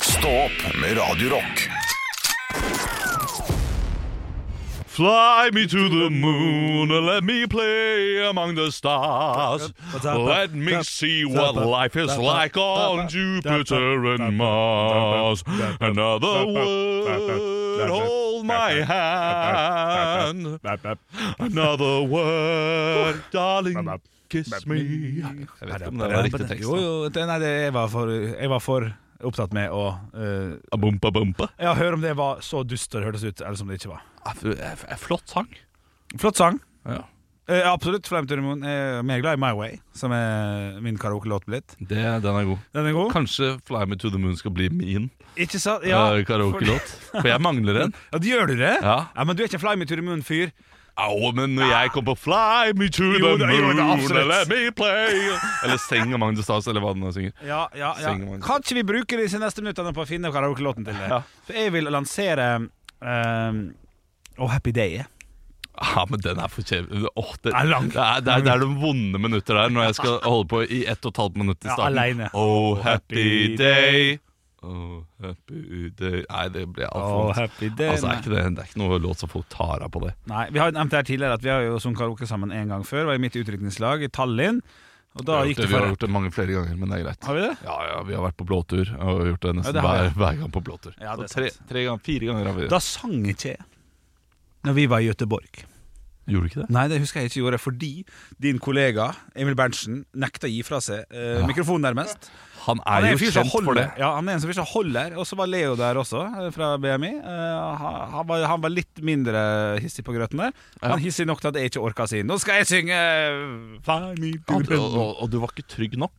Stå opp med Radio Rock. Fly me to the moon and let me play among the stars. Let me see what life is like on Jupiter and Mars. Another word, hold my hand. Another word, darling, kiss me. Jeg vet ikke om det var riktig tekst. Jo, jo, det, nei, det, jeg, var for, jeg var for opptatt med å eh, Abumpa bumpa. Ja, høre om det var så dust og det hørtes ut, eller som det ikke var. Flott sang. Flott sang. Ja. Eh, absolutt. Flame to the Moon. Jeg er mer glad i My Way, som er min karaokelåt blitt. Det, den er god. Den er god. Kanskje Fly me to the moon skal bli min Ikke sant? ja, Ja, karaokelåt. For jeg mangler en. ja gjør du det? Ja. Men du er ikke Fly Me to the Moon-fyr. Au, men når jeg kom på Fly me to Jo, the da- jo, moon da, and absolutt. Let me play Eller Seng av Magnus Stas, eller hva den nå synger. Ja, ja, ja. Synger man. Kan ikke vi bruke disse neste minuttene på å finne karaokelåten til det? Ja. For jeg vil lansere ehm, Oh Happy Day. jeg. Ja, men den er for kjevelig. Åh, det, Den er lang. det, er- det, er- det er de vonde minutter der når jeg skal holde på i ett og et halvt minutt i Ja, starten. alene. Oh, happy day. Oh, happy day Nei, det blir altfor Oh vondt. Happy Day. Altså, er ikke det, det er ikke noe låt som folk tar av på det. Nei, Vi har jo nevnt det her tidligere at vi har jo sunget karaoke sammen en gang før. Var i mitt utrykningslag i Tallinn. Og da Vi har gjort gikk det Vi har for gjort det mange flere ganger, men det er greit. Har vi det? Ja, ja, vi har vært på blåtur og gjort det Ja, nesten det har hver, jeg. hver gang på blåtur. Ja, det er Så tre, sant. tre ganger, fire ganger har vi Da sang ikke jeg når vi var i Gøteborg. Gjorde du ikke det? Nei, det husker jeg ikke gjorde, fordi din kollega Emil Berntsen nekta å gi fra seg eh, mikrofonen, nærmest. Han er, Han er en jo fyr som kjent for det. holder. Ja, han er en som fyr som holder. Og så var Leo der også, eh, fra BMI. Eh, han, han, var, han var litt mindre hissig på grøten der. Han hissig nok til at jeg ikke orka å si 'Nå skal jeg synge eh, Fly me to Og, the moon'. og, og du var ikke trygg nok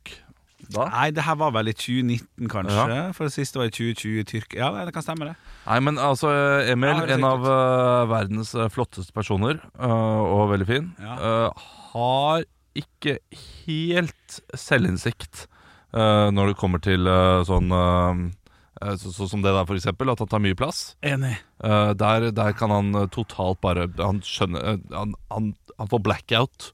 da? Nei, det her var vel i 2019, kanskje. Ja. For det siste var i 2020 i Tyrkia. Ja, nei, det kan stemme, det. Nei, men altså, Emil, Ja, det er en riktig. av eh, verdens eh, flotteste personer, eh, og veldig fin, Ja. eh, har ikke helt selvinnsikt eh, når det kommer til eh, sånn eh, eh, så, så som det der, for eksempel, at han tar mye plass. Enig. Eh, der, der kan han eh, totalt bare Han skjønner eh, han, han, han får blackout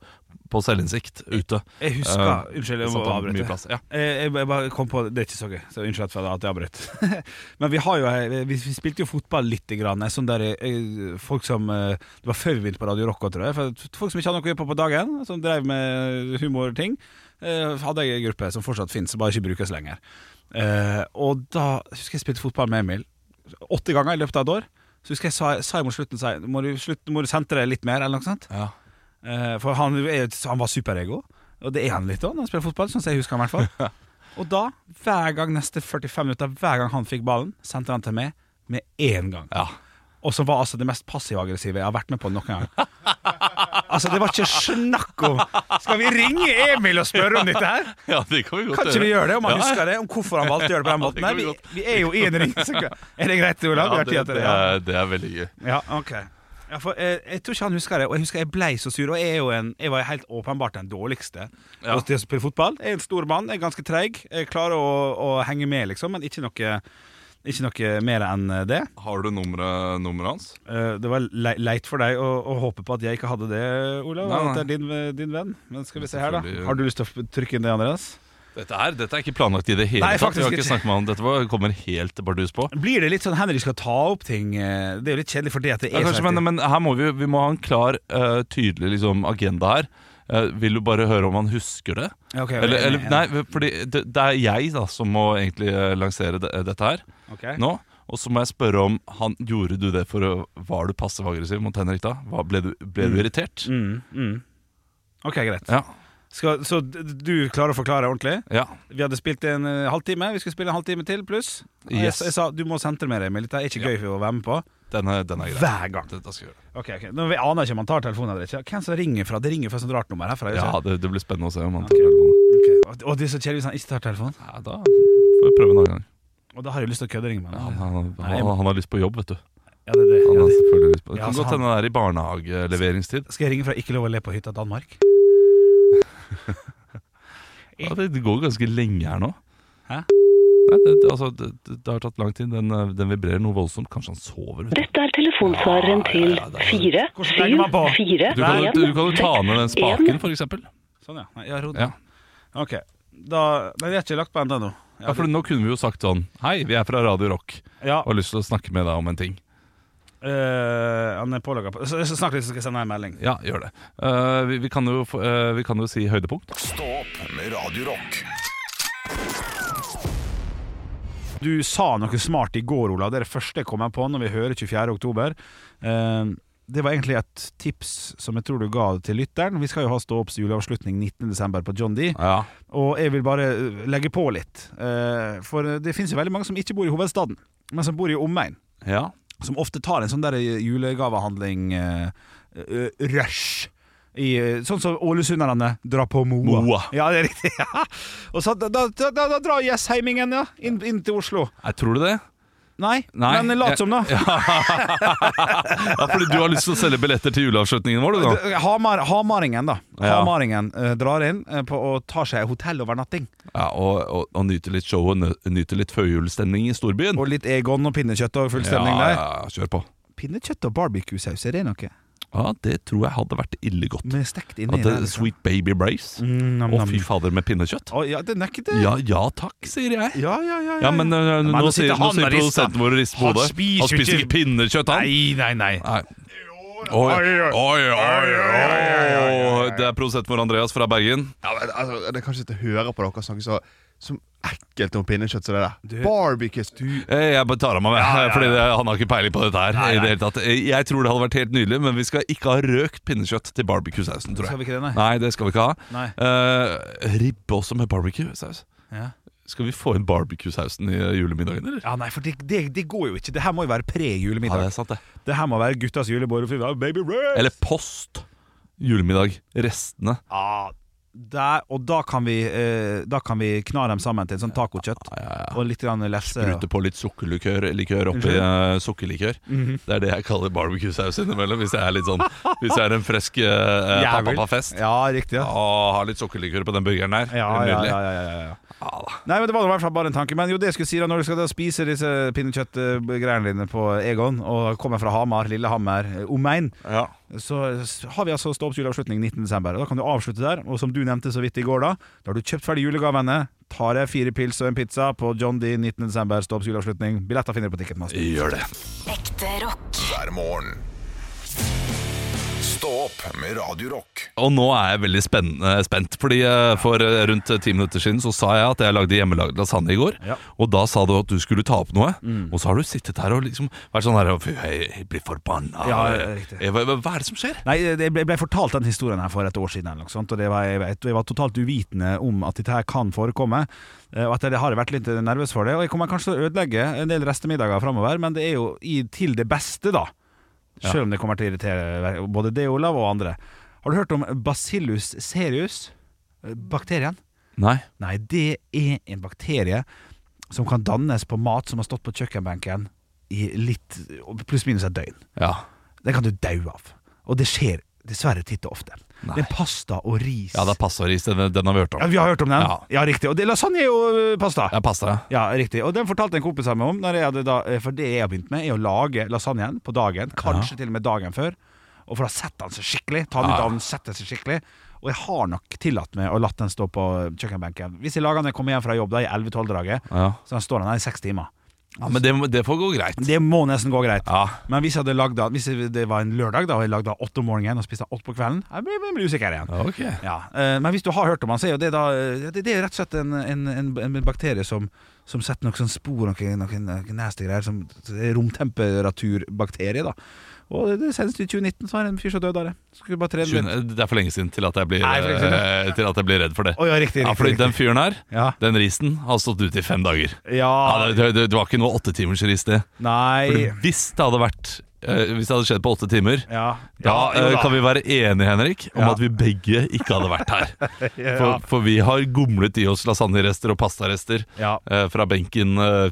på selvinnsikt ute. Jeg husker Eh, Unnskyld, jeg må sånn at han har avbryte. mye plass, ja. Eh, Jeg, jeg bare kom på Det er ikke så gøy, så unnskyld for at jeg avbrøt. Men vi har jo eh, vi, vi spilte jo fotball lite grann. eh, Sånn der eh, folk som eh, Det var før vi begynte på Radio Rock, også, tror jeg. For folk som ikke hadde noe å gjøre på på dagen, eh, som drev med humorting, eh, hadde jeg en gruppe som fortsatt fins, bare ikke brukes lenger. Eh, og da husker jeg jeg spilte fotball med Emil. Åtte ganger i løpet av et år. Så husker jeg sa, sa jeg mot slutten sa jeg, må du, slutt, må du sentre litt mer, eller noe sånt. Ja. Eh, For han, er jo- han var superego, og det er han litt òg når han spiller fotball. Sånn som jeg husker han i hvert fall Og da, hver gang neste 45 minutter, hver gang han fikk ballen, sendte han til meg med én gang. Ja. Og som var altså det mest passiv-aggressive jeg har vært med på noen gang. Altså, det var ikke snakk om Skal vi ringe Emil og spørre om dette her? ja, det kan vi godt Kan ikke vi gjøre det, om han Ja, husker det? Om hvorfor han valgte å gjøre det på den Ja, måten? det Nei, kan vi vi, godt. vi er jo i en ring. så- Er det greit, Olav? Ja, Vi har det, tid til det, det. ja. er, det er veldig gøy. Ja, ok ja, for, eh, Jeg tror ikke han husker det Og jeg husker jeg ble så sur Og jeg, er jo en, jeg var helt åpenbart den dårligste Ja. Og til å spille fotball Jeg er en stor mann, jeg er ganske treg Jeg klarer å, å henge med liksom Men ikke noe, ikke noe mer enn det Har du nummeret, nummeret hans? Eh, Det var le leit for deg å, å håpe på at jeg ikke hadde det, Olav Nei, At det er din, eh, din venn Men skal vi se her da Selvfølgelig. Har du lyst til å trykke inn det, Andreas? Dette er, dette er ikke planlagt i det hele Nei, tatt. Vi har faktisk ikke ikke. snakket med han Dette var, kommer helt bardus på. Blir det litt sånn Henrik skal ta opp ting eh, Det er jo litt kjedelig for det at det Ja, er kanskje, så men, hektisk. men her må vi, vi må ha en klar, eh, tydelig liksom, agenda her. Eh, vil du bare høre om han husker det? Ja, ok, Eller, enig, eller, enig. nei, fordi det, det er jeg da, som må egentlig eh, lansere det, dette her Ok. nå. Og så må jeg spørre om han, Gjorde du det for å Var du passiv aggressiv mot Henrik da? Hva, ble du, ble du irritert? mm, mm. Ok, greit Ja. skal, Så d- du klarer å forklare ordentlig? ja. Vi hadde spilt en eh, halvtime, vi skulle spille en halvtime til pluss. Og Jeg, Yes. sa- jeg sa du må sentre med deg, men dette er ikke gøy for å være med på. Den er, den er grei. Hver gang. Dette skal jeg gjøre. Ok, ok, Nå, Vi aner ikke om han tar telefonen eller ikke. Hvem som ringer fra? Det ringer fra et sånt rart nummer herfra. Ja, ikke? det, det blir spennende å se om han tar telefonen. Ok, Og, og det er så kjedelig hvis han ikke tar telefonen. Ja, da får vi prøve en annen gang. Og da har jeg lyst til å kødderinge med Ja, ham. Han, han, Nei, han, han har lyst på jobb, vet du. Ja, det, er det, Han ja, har det. selvfølgelig lyst på Det altså, Ja, kan så godt han- hende det er i barnehageleveringstid. Skal jeg ringe fra Ikke lov å le på hytta Danmark? Ja, det det går ganske lenge her nå. Hæ? Nei, det, det, altså, det, det det har tatt lang tid. Den, eh, den vibrerer noe voldsomt. Kanskje han sover? vet du. Dette er telefonsvareren til fire, Hvordan legger syv, man på? fire, Du kan, en, du kan jo ta seks, ned den en. spaken, for eksempel. Sånn, ja. Nei, jeg har rodd. Ja. Ok. Da, nei, jeg har ikke lagt på ennå. Ja, for nå kunne vi jo sagt sånn Hei, vi er fra Radio Rock Ja, og har lyst til å snakke med deg om en ting. eh, han er pålogga på Så- så Snakk litt, så skal jeg sende deg en melding. Ja, gjør det. Eh, vi, vi, kan jo, få- eh, vi kan jo si høydepunkt. Stå opp med Radio Rock. Du sa noe smart i går, Olav. Det er det første jeg kommer på når vi hører 24. oktober. Eh, Det var egentlig et tips som jeg tror du ga til lytteren. Vi skal jo ha Stå opps juleavslutning 19.12. på John D. Ja. Og jeg vil bare eh, legge på litt. Eh, For det finnes jo veldig mange som ikke bor i hovedstaden, men som bor i omegn. ja. Som ofte tar en sånn der julegavehandling-rush. eh, I, eh, sånn som ålesunderne drar på Moa. Moa. Ja, det er riktig. Ja. Og så, da, da, da, da drar jessheimingen ja, inn, inn til Oslo. Jeg tror du det? Nei, Nei, men lat jeg- som, da. Ja, fordi du har lyst til å selge billetter til juleavslutningen vår, du nå? D- Hamar, hamaringen, da. Ja. Hamaringen eh, drar inn eh, på, og tar seg hotellovernatting. Ja, og, og, og nyte litt show og nø- nyte litt førjulsstemning i storbyen. Og litt Egon og pinnekjøtt og full stemning ja, der. ja, ja, kjør på. Pinnekjøtt og barbecue-saus, er det noe? Ja, det tror jeg hadde vært ille godt. Med stekt Ja, inni Mm, det, sweet baby brace. Mm, nam, Å, nam. fy fader, med pinnekjøtt. liksom? Å, ja, det er ikke det. Ja, ja takk, sier jeg. ja, ja. ja, Ja, men øh, nå, nå sier, sitter nå han sier og rister. produsenten vår og rister på Han hodet. spiser Han spiser ikke- ikke pinnekjøtt, han. Nei, nei, nei. Nei. Oi, oi, oi, oi. Det er produsenten vår Andreas fra Bergen. Ja, men, altså, det er kanskje ikke å høre på dere snakke så, så ekkelt om pinnekjøtt som det der. Barbecue stu... Eh, Jeg bare tar av meg med, fordi det, han har ikke peiling på dette her. i det hele tatt. Eh, Jeg tror det hadde vært helt nydelig, men vi skal ikke ha røkt pinnekjøtt til barbecue-sausen, tror jeg. Skal vi ikke det, nei? det skal vi ikke ha. Nei. Eh, ribbe også med barbecue-saus. Ja. Skal vi få inn barbecue-sausen i eh, julemiddagen, eller? Ja, nei, for det, det, det går jo ikke. Det her må jo være Ja, det pre-julemiddag. er sant, det. det her må være guttas julebord. og fy- ja, Baby Ray! Eller post julemiddag. Restene. Ja, der, og da kan, vi, eh, da kan vi kna dem sammen til en sånn tacokjøtt. Og litt grann lefse. Sprute på litt sukkerlikør likør oppi eh, sukkerlikør. Mhm. Det er det jeg kaller barbecue-saus innimellom, hvis jeg er litt sånn Hvis jeg er en fresk uh, Jævel. pappa-fest. Ja, riktig. Ja. Å, ha litt sukkerlikør på den burgeren der. Ja, Det er ja, nydelig. ja, ja, ja, ja. Nei, men Det var i hvert fall bare en tanke. Men jo, det jeg skulle si da når du skal da spise disse pinnekjøttgreiene dine på Egon, og kommer fra Hamar, Lillehammer, eh, omegn, Ja. så s- har vi altså stå opp juleavslutning 19.12. Da kan du avslutte der. Og som du nevnte så vidt i går, da Da har du kjøpt ferdig julegavene. Tar deg fire pils og en pizza på John D. 19.12. Stå opp juleavslutning. Billetter finner du på Ticketmaster. Gjør det. Ekte rock. Hver morgen. Stå opp med Radio Rock. Og nå er jeg veldig spennende, spent, fordi eh, for eh, rundt ti minutter siden så sa jeg at jeg lagde hjemmelagd lasagne i går. Ja. Mm. Og da sa du at du skulle ta opp noe, og så har du sittet her og liksom vært sånn her Fy, jeg, jeg blir forbanna. Ja, ja, riktig. Eh, hva, hva- hva er det som skjer? Nei, jeg ble, jeg ble fortalt den historien her for et år siden, eller noe sånt, og det var, jeg, vet, jeg var totalt uvitende om at dette her kan forekomme. eh, Og at jeg har vært litt nervøs for det. Og jeg kommer kanskje til å ødelegge en del restemiddager framover, men det er jo i, til det beste, da. Selv om det kommer til å irritere både det, Olav, og andre. Har du hørt om Bacillus serius? Eh, Bakterien? Nei. Nei, det er en bakterie som kan dannes på mat som har stått på kjøkkenbenken i litt pluss-minus et døgn. Ja. Den kan du daue av. Og det skjer dessverre titt og ofte. Nei. Det er pasta og ris. ja, det er passaris. Den, den har vi hørt Ja, om. vi har hørt om den. Ja. Ja, riktig. Og det, lasagne er jo ø, pasta. Ja. Ja, pasta. ja. riktig. Og den fortalte en kompis av meg om, når jeg hadde da, ø, for det jeg har begynt med, er å lage lasagnen på dagen. Kanskje til og med dagen før. Og for da setter han seg skikkelig. Ta den ut Ja. av ovnen, setter seg skikkelig. Og jeg har nok tillatt meg å latt den stå på ø, kjøkkenbenken. Hvis jeg lager den når jeg kommer hjem fra jobb da, i 11-12-draget, Ja. så den står den der i seks timer. ja men det, må- det får gå greit. Det må nesten gå greit. Ja. Men hvis, jeg hadde lagd, den- hvis det var en lørdag da, og jeg lagde den åtte om morgenen og spiste den åtte på kvelden, jeg blir jeg blir usikker igjen. Ja, Ok. Ja, eh, Men hvis du har hørt om den, så er jo det da eh, Det, det er rett og slett en, en, en, en bakterie som, som setter noen sånn spor, noen, noen, noen nasty greier. Som, det er romtemperaturbakterie, da. Og det, det senest i 2019 så var det en fyr som døde av det. Skulle bare trene litt. Skjønner- Det er for lenge siden til at jeg blir, Nei, for lenge siden. eh, til at jeg blir redd for det. Å ja, riktig. Ja, fordi riktig, den riktig. fyren her, Ja. den risen, har stått ute i fem dager. Ja, ja. det, det, det var ikke noe åttetimers ris, det. Fordi Nei hvis det hadde vært eh, Hvis det hadde skjedd på åtte timer ja. da, eh, kan vi være enige, Henrik, om Ja. at vi begge ikke hadde vært her. For, for vi har gomlet i oss lasagnerester og pastarester Ja. eh, fra benken eh,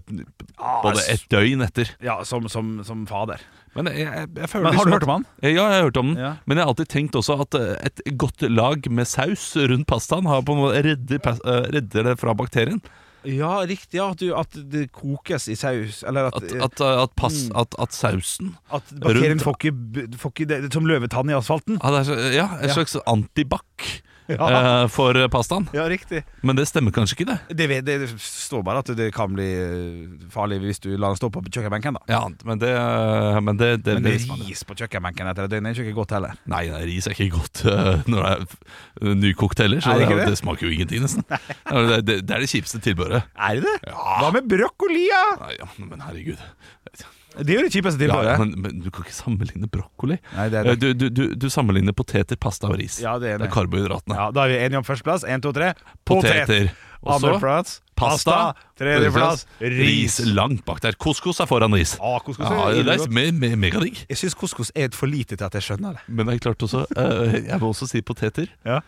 både et døgn etter. Ja, som, som, som fader. Men, jeg, jeg, jeg føler Men har liksom du at- hørt om han? Ja, jeg har hørt om den. Ja. Men jeg har alltid tenkt også at eh, et godt lag med saus rundt pastaen har på en måte redder, pas- eh, redder det fra bakterien. Ja, riktig. Ja, at, du, at det kokes i saus. Eller at, At, at, eh, at, pass, at, at sausen At bakterien Rundt- får ikke, får ikke det, Som løvetann i asfalten? Ja, det er så, ja en slags antibac eh, for pastaen. Ja, riktig. Men det stemmer kanskje ikke, det. Det, vet- det står bare at det kan bli eh, farlig hvis du lar den stå på kjøkkenbenken. da Ja, men det, eh, men det, det, Men det det ris på kjøkkenbenken etter et døgn er jo ikke godt heller. Nei, nei, ris er ikke godt eh, når det er f- nykokt heller, så Er det det, ikke er jo- det? det smaker jo ingenting, nesten. Ja, Det, det, det er det kjipeste tilbehøret. Er det det? Hva med brokkoli? Ja? Nei, ja, men herregud. Det er jo det kjipeste Ja, tilbudet. ja, Ja, men, men du kan ikke sammenligne brokkoli. Nei, det er det. Du, du, du, du sammenligner poteter, pasta og ris. Ja, det er det. karbohydratene. da er vi enige om førsteplass. Én, to, tre. Poteter. Og så Andreplass pasta. Tredjeplass Ris ris. langt bak der. Couscous er foran ris. Ah, couscous er ja, det ille er me, me, megadigg. Jeg syns couscous er for lite til at jeg skjønner det. Men det er klart også eh, Jeg må også si poteter. Ja.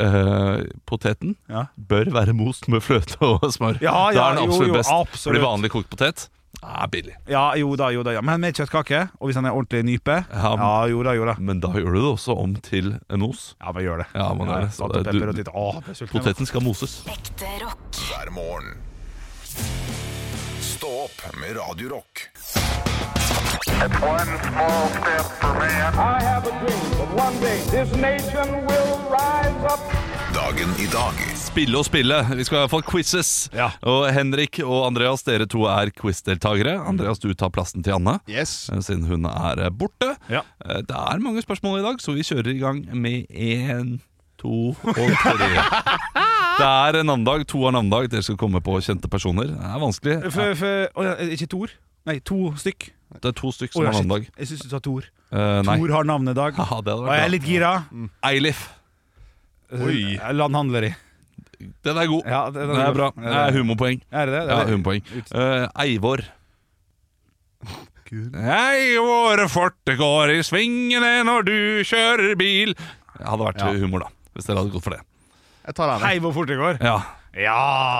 Eh, poteten Ja. bør være most med fløte og smør. Ja, da ja, er den jo, absolutt jo, best. absolutt. Fordi vanlig kokt potet er billig. Ja, jo da, jo da. Ja. Men med kjøttkake, og hvis han er ordentlig nype Ja, men- Ja, jo da, jo da. Men da gjør du det også om til en os. Ja, men gjør det. Ja, man gjør det. salt og Så det- pepper du- og litt Åh, jeg ble sulten. Poteten skal moses. Ekte rock. hver morgen. Stå opp med Radio Rock. One small step for man. I have a dream that one day this nation will rise up. Dagen i dag Spille og spille. Vi skal i hvert fall quizzes. Ja. Og Henrik og Andreas, dere to er quizdeltakere. Andreas, du tar plassen til Anne. Yes. eh, Siden hun er eh, borte. Ja. Eh, Det er mange spørsmål i dag, så vi kjører i gang med én, to og tre. Det er en navnedag. To har navnedag. Dere skal komme på kjente personer. Det er vanskelig. For, for, å, ja, ikke Tor? Nei, to stykk. Det er eh, to stykk Å, som ja, har shit. navnedag. Jeg syns du sa Tor. Eh, nei. Tor har navnedag. Haha, det hadde Og jeg er vært bra. litt gira. Eilif. Oi. Landhandleri. Den er god. Ja, det, Den er bra. Det er humorpoeng. Er det det? Ja, det? humorpoeng. Ut- Eh, Eivor. Eivor fortet går i svingene når du kjører bil. Det hadde vært Ja. humor, da. Hvis dere hadde gått for det. Jeg tar den. Hei, hvor fort det går. Ja. Ja!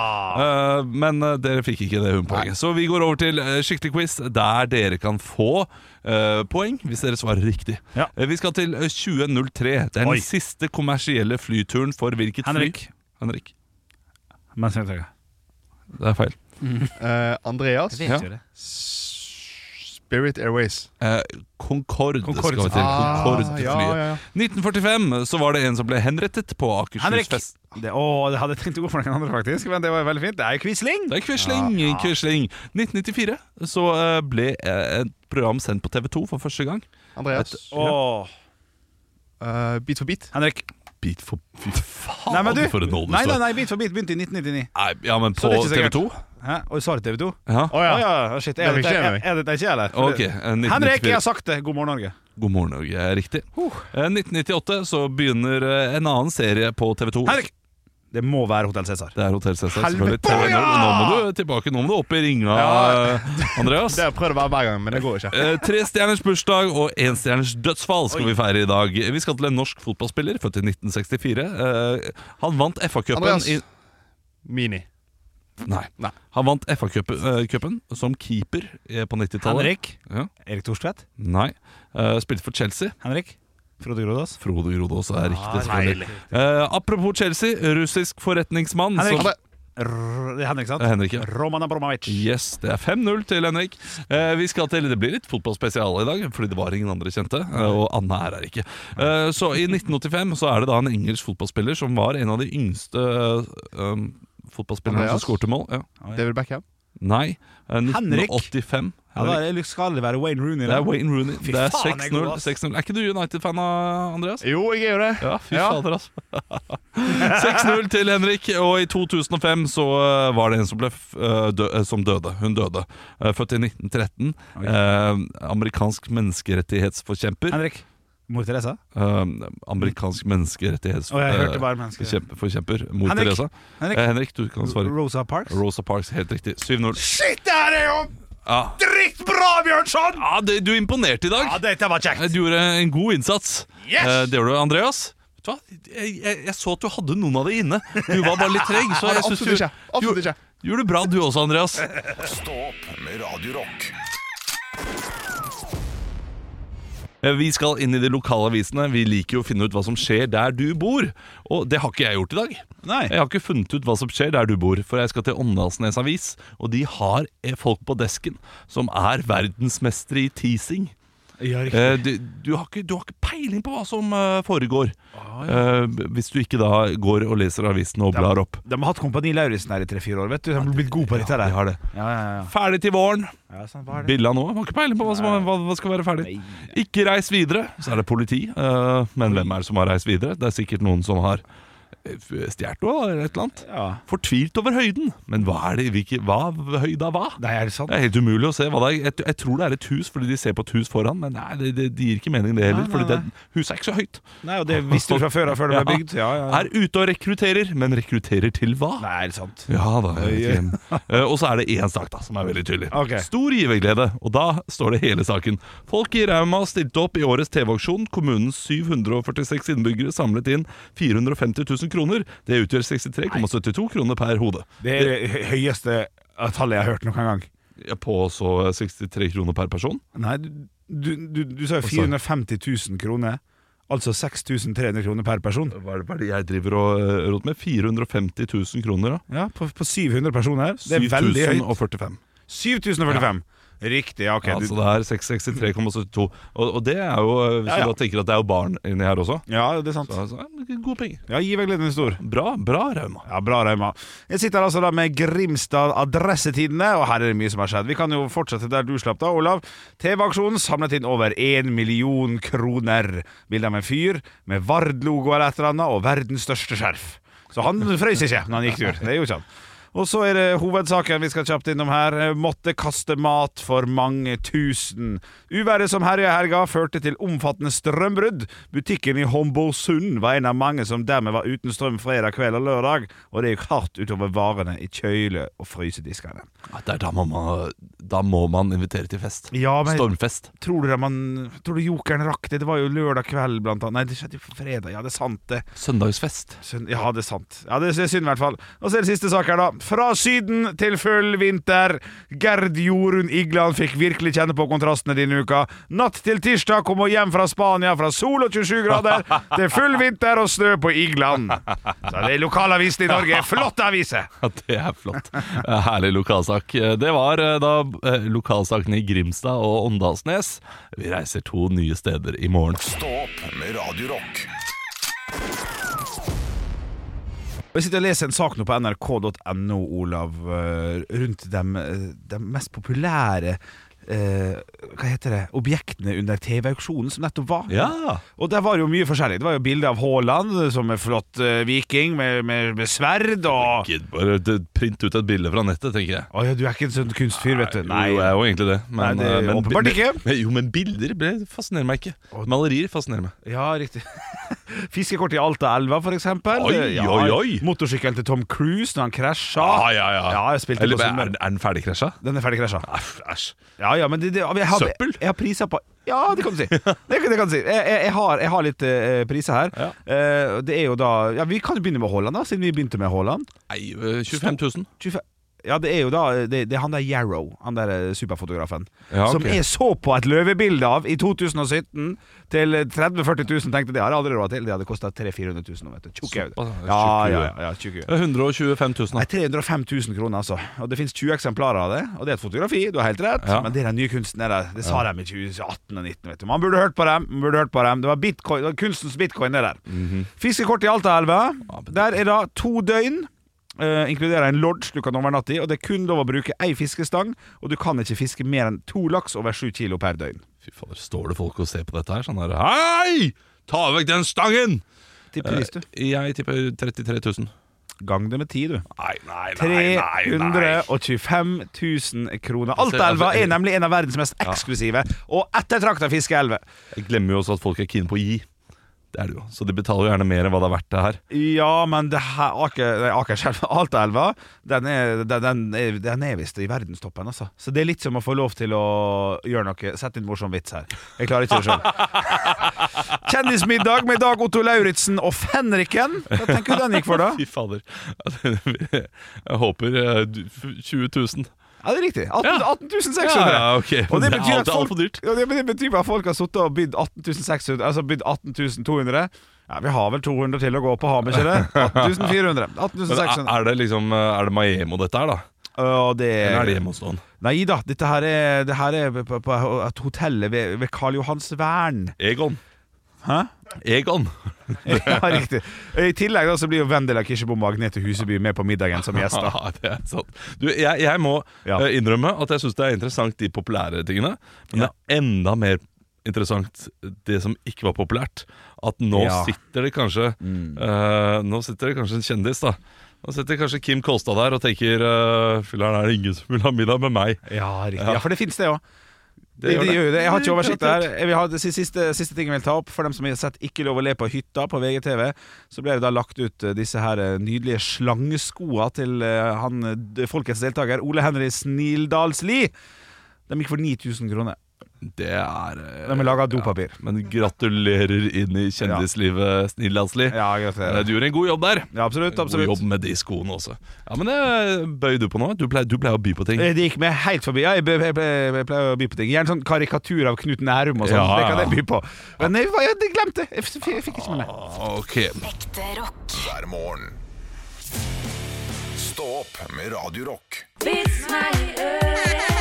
Eh, men eh, dere fikk ikke det humorpoenget. Så vi går over til eh, skikkelig quiz, der dere kan få eh, poeng hvis dere svarer riktig. Ja. Eh, vi skal til eh, 2003. Den Oi. siste kommersielle flyturen for hvilket Henrik. fly? Henrik. Men så tenker jeg Det er feil. Eh, Andreas. vet jo Ja. Spirit Airways. Eh, Concorde, Concorde. skal vi til. Ah, Concorde-flyet. ja, ja, ja. 1945 så var det en som ble henrettet på Henrik! Akershus fest. Det, å, det hadde jeg tenkt å gå for noen andre, faktisk, men det var veldig fint. Det er jo Quisling! Det er Quisling. Quisling. 1994 så eh, ble eh, et program sendt på TV2 for første gang. Andreas. Åh. Eh, bit for bit. Henrik. Bit for Fy faen, Nei, men du, for en nåde nei, det nei, står. nei, Bit for bit begynte i 1999. Nei, ja, men på Så det er ikke sikkert. TV2? Hæ? Og så er det TV 2? Ja. Å Ja. ja. ja, shit. Er Det det fikk jeg er, med meg. er det ikke jeg, eller? For Ok. eh, det- 1994. Henrik, jeg har sagt det! God morgen, Norge. God morgen, Norge. er Riktig. Eh, 1998 så begynner eh, en annen serie på TV2. Henrik! Det må være Hotell Cæsar. Det er Hotell Cæsar. Helvete, selvfølgelig. TV2. Nå må ja! du tilbake, nå må du opp i ringa, Ja. eh, Andreas. Det har jeg prøvd å være hver gang, men det går ikke. Eh, Tre stjerners bursdag og én stjerners dødsfall skal vi feire i dag. Vi skal til en norsk fotballspiller, født i 1964. Eh, han vant FA-cupen Andreas. i Mini. Nei. Han vant FA-cupen som keeper eh, på 90-tallet. Henrik. Ja. Erik Thorstvedt. Nei. Eh, spilte for Chelsea. Henrik. Frode Grodås. Frode Grodås er riktig. selvfølgelig. deilig. Eh, apropos Chelsea, russisk forretningsmann Henrik. som Andre. Rrr, Det er Henrik, sant? Eh, Henrik, ja. Mm. Roman Abramovic. Yes, det er 5-0 til Henrik. Eh, vi skal til, Det blir litt fotballspesial i dag, fordi det var ingen andre kjente. eh, og Anne er her ikke. Eh, så i 1985 så er det da en engelsk fotballspiller som var en av de yngste eh, um, fotballspillerne som Andreas? skårte mål. Ja. David Beckham. Nei. eh, Henrik? 1985. Ja, da er det- skal det være Wayne Rooney. Det da. er Wayne Rooney. Fy Det er faen, jeg er god, 6-0. ass. 6-0. Er ikke du United-fan, av Andreas? Jo, jeg er jo det. Ja, fy Ja. fader, altså. 6-0 til Henrik, og i 2005 så eh, var det en som, ble, f- eh, dø, eh, som døde. Hun døde. Eh, Født i 1913. Eh, amerikansk menneskerettighetsforkjemper. Henrik. Mor Teresa. Eh, amerikansk eh, Å, jeg hørte bare mennesker. menneskerettighetsforkjemper. Mor Henrik. Teresa. Henrik. Eh, Henrik, du kan svare. Rosa Parks. Rosa Parks, helt riktig. 7-0. Shit, det her er jo Ja. drittbra, Bjørnson! Ja, Ah, det, du imponerte i dag. Ja, dette var kjekt. Eh, Du gjorde en god innsats. Yes! Eh, Det gjorde du, Andreas. Vet du hva? Jeg, jeg, jeg så at du hadde noen av det inne. Du var bare litt treg. Så Nei, jeg synes Absolutt du ikke. Absolutt ikke. gjorde det bra, du også, Andreas. Stå opp med Radio Rock Eh, Vi skal inn i de lokale avisene. Vi liker jo å finne ut hva som skjer der du bor. Og det har ikke jeg gjort i dag. Nei. Jeg har ikke funnet ut hva som skjer der du bor, for jeg skal til Åndalsnes Avis, og de har eh, folk på desken som er verdensmestere i teasing. Ja, riktig. Eh, du, du, har ikke, du har ikke peiling på hva som eh, foregår, eh, hvis du ikke da går og leser avisene og blar opp. De har hatt Kompani Lauritzen her i tre-fire år, vet du. De har blitt gode på dette Ja, der. de har det. Ja, ja, Ferdig til våren. ja. ja sånn, hva er det? Billa nå. Har ikke peiling på hva som hva, hva skal være ferdig. Ikke reis videre, så er det politi. eh, men hvem er det som har reist videre? Det er sikkert noen som har eh, stjålet noe, eller et eller annet. Ja. Fortvilt over høyden. Men hva er det? Hvilke, hva høyda hva? Nei, er det sant? Det er helt umulig å se hva det er. Jeg, jeg tror det er et hus, fordi de ser på et hus foran. Men nei, det, det, det gir ikke mening, det heller. Nei, nei, Fordi det, huset er ikke så høyt. Nei, og det visste du fra før av før det ble bygd. Ja, ja, ja. Er ute og rekrutterer, men rekrutterer til hva? Nei, er det sant? Ja da. jeg vet ikke. Eh, Og så er det én sak da, som er veldig tydelig. Ok. Stor giverglede, og da står det hele saken. Folk i Rauma stilte opp i årets TV-aksjon. Kommunens 746 innbyggere samlet inn 450 000 kroner. Det utgjør 63,72 kroner per hode. Det er det høyeste eh, tallet jeg har hørt noen gang. På så 63 kroner per person. Nei, du, du, du, du sa jo 450 000 kroner. Altså 6300 kroner per person. Hva er det, hva er det jeg driver og eh, roter med? 450 000 kroner, da. Ja, På, på 700 personer. Det er veldig høyt. 7045. 7045. Riktig, ja, ok. Ja, så Du, det er 663,72. Og, og det er jo, eh, hvis Ja, ja. du da tenker at det er jo barn inni her også ja, det er sant. altså, eh, Gode penger. Ja, Givergleden er stor. Bra, bra Rauma. Ja, Bra, Rauma. Jeg sitter altså da med Grimstad Adressetidene, og her er det mye som har skjedd. Vi kan jo fortsette der du slapp da, Olav. TV-aksjonen samlet inn over én million kroner. Bilde av en fyr med Vard-logo eller et eller annet, og verdens største skjerf. Så han frøys ikke når han gikk tur. Det gjorde ikke han. Og så er det hovedsaken vi skal kjapt innom her. Eh, Måtte kaste mat for mange tusen. Uværet som herja i helga førte til omfattende strømbrudd. Butikken i Homborsund var en av mange som dermed var uten strøm fredag kveld og lørdag, og det gikk hardt utover varene i kjøle- og frysediskene. Ja, det er da, må man, da må man invitere til fest. Ja, men- Stormfest. Tror du, det man, tror du jokeren rakk det? Det var jo lørdag kveld, blant annet. Nei, det skjedde jo på fredag. Ja, det er sant, det. Søndagsfest. Synd- Ja, det er sant. Ja, det er synd i hvert fall. Og så er det siste sak her, da. Fra Syden til full vinter. Gerd Jorunn Igland fikk virkelig kjenne på kontrastene denne uka. Natt til tirsdag kom hun hjem fra Spania fra sol og 27 grader til full vinter og snø på Igland. Så det er lokalavisen i Norge. Flotte aviser! Ja, det er flott. Eh, Herlig lokalsak. Eh, Det var eh, da eh, lokalsakene i Grimstad og Åndalsnes. Vi reiser to nye steder i morgen. Stå opp med Radio Rock. Og Jeg sitter og leser en sak nå på nrk.no, Olav, eh, rundt de, de mest populære eh, hva heter det, objektene under TV-auksjonen som nettopp var. Ja. Og der var jo mye forskjellig. Det var jo bilde av Haaland som en flott eh, viking med, med, med sverd og Gid, bare d- print ut et bilde fra nettet, tenker jeg. Å ja, du er ikke en sånn kunstfyr, vet du. Jo, jeg er jo egentlig det. Nei, det er eh, åpenbart ikke. Men, jo, men bilder ble- fascinerer meg ikke. Malerier fascinerer meg. Ja, riktig. Fiskekort i Altaelva, for eksempel. Oi, Ja, oi, oi. Motorsykkelen til Tom Cruise når han krasja. Ah! Ja, jeg spilte Ah, Eller, på er, Sunnmøre. er den ferdigkrasja? Den er ferdig krasja. Æsj. Ja, ja, men det, det, jeg har, Søppel? Jeg har priser på Ja, det kan du si. Det, det kan du si. Jeg, jeg, jeg, har, jeg har litt eh, priser her. Eh, det er jo da Ja, Vi kan jo begynne med Haaland, da, siden vi begynte med Haaland. Nei, eh, 25 000. 25 ja, det er jo da Det, det er han der Yarrow, han der eh, superfotografen, Ja, ok. som jeg så på et løvebilde av i 2017 til 30 000-40 000. Tenkte det har jeg aldri råd til. Det hadde kosta 300 000-400 000 nå, vet du. Tjukke øyne. Såpass, tjukke Ja, ja, øyne. ja, ja, tjukke øyne. Eh, 125 000. da. Nei, 305 000 kroner, altså. Og det finnes 20 eksemplarer av det. Og det er et fotografi, du har helt rett. Ja. Men det er den nye kunsten. er Det, det sa de i 2018 og 19, vet du. Man burde hørt på dem. Man burde hørt på dem. Det var, bitcoin, det var kunstens bitcoin, det der. Fiskekort i Altaelva. men det- Der er da to døgn. eh, inkluderer en lodge du kan overnatte i, og det er kun lov å bruke ei fiskestang. Og du kan ikke fiske mer enn to laks over sju kilo per døgn. Fy fader, står det folk og ser på dette her sånn der Hei! Ta vekk den stangen! Eh, Tipper pris, du. Jeg tipper 33 000. Eh, Gang det med ti, du. Nei, nei, 325 000 kroner. Altaelva er nemlig en av verdens mest eksklusive og ettertrakta fiskeelver. Jeg glemmer jo også at folk er keen på å gi. Det er det jo. Så de betaler jo gjerne mer enn hva det er verdt, det her. Ja, men det her Aker, nei, Akerselva, Altaelva, den er, den, den, er, den er visst i verdenstoppen, altså. Så det er litt som å få lov til å gjøre noe Sett inn en morsom vits her. Jeg klarer ikke det sjøl. Kjendismiddag med Dag Otto Lauritzen og Fenriken. Hva tenker du den gikk for, da? Fy fader. Jeg håper eh, du- 20 000. Ja, det er riktig. 18, Ja. 18 600. Ja, ja, ok. Og det Det er betyr alt- at folk, alt for dyrt. Ja, det, men det betyr bare at folk har sittet og bydd 18 600, altså bydd 18 200. Ja, vi har vel 200 til å gå på, har vi ikke det? 18 400. 18 Men 600. er er det liksom eh, Er det Maiemo dette her, da? Og det Eller er det hjemme hos noen? Nei da, dette her er, det her er på, på et hotell ved, ved Karl Johans Vern. Egon. Hæ? Egon. Ja, riktig. I tillegg da, så blir jo Vendela Kirsebom og Agnete Huseby med på middagen som gjester. Ja, det er sant. Du, jeg, jeg må Ja. eh, innrømme at jeg syns det er interessant de populære tingene, men det er enda mer interessant det som ikke var populært. At nå Ja. Mm. sitter det kanskje eh, Nå sitter det kanskje en kjendis, da. Nå sitter kanskje Kim Kolstad der og tenker uh, Filler'n, er det ingen som vil ha middag med meg? Ja, riktig. Ja, for det finnes det òg. Det gjør Det, det det. gjør jo det. Jeg har ikke oversikt der. Jeg vil ha det siste, siste ting jeg vil ta opp. For dem som har sett Ikke lov å le på hytta på VGTV, så ble det da lagt ut eh, disse her eh, nydelige slangeskoa til eh, han eh, d- folkets deltaker Ole Henry Snildalsli. De gikk for 9000 kroner. Det er eh, De er laga av dopapir. Men gratulerer inn i kjendislivet, Snill Asli. Ja, gratulerer. Du gjorde en god jobb der. Ja, absolutt. God absolutt jobb med de skoene også. Ja, Men det bøy du på nå. Du pleier, du pleier å by på ting. Eh, Det gikk meg helt forbi. Ja, jeg, jeg, jeg, jeg, jeg pleier å by på ting. Gjerne sånn karikatur av Knut Nærum og sånn. Ja, Det ja. kan jeg by på. Men jeg, jeg, jeg glemte det. Jeg, f- f- jeg fikk ikke med meg. Ok, Ekte rock. hver morgen. Stå opp med Radio Rock. Vits meg i øret.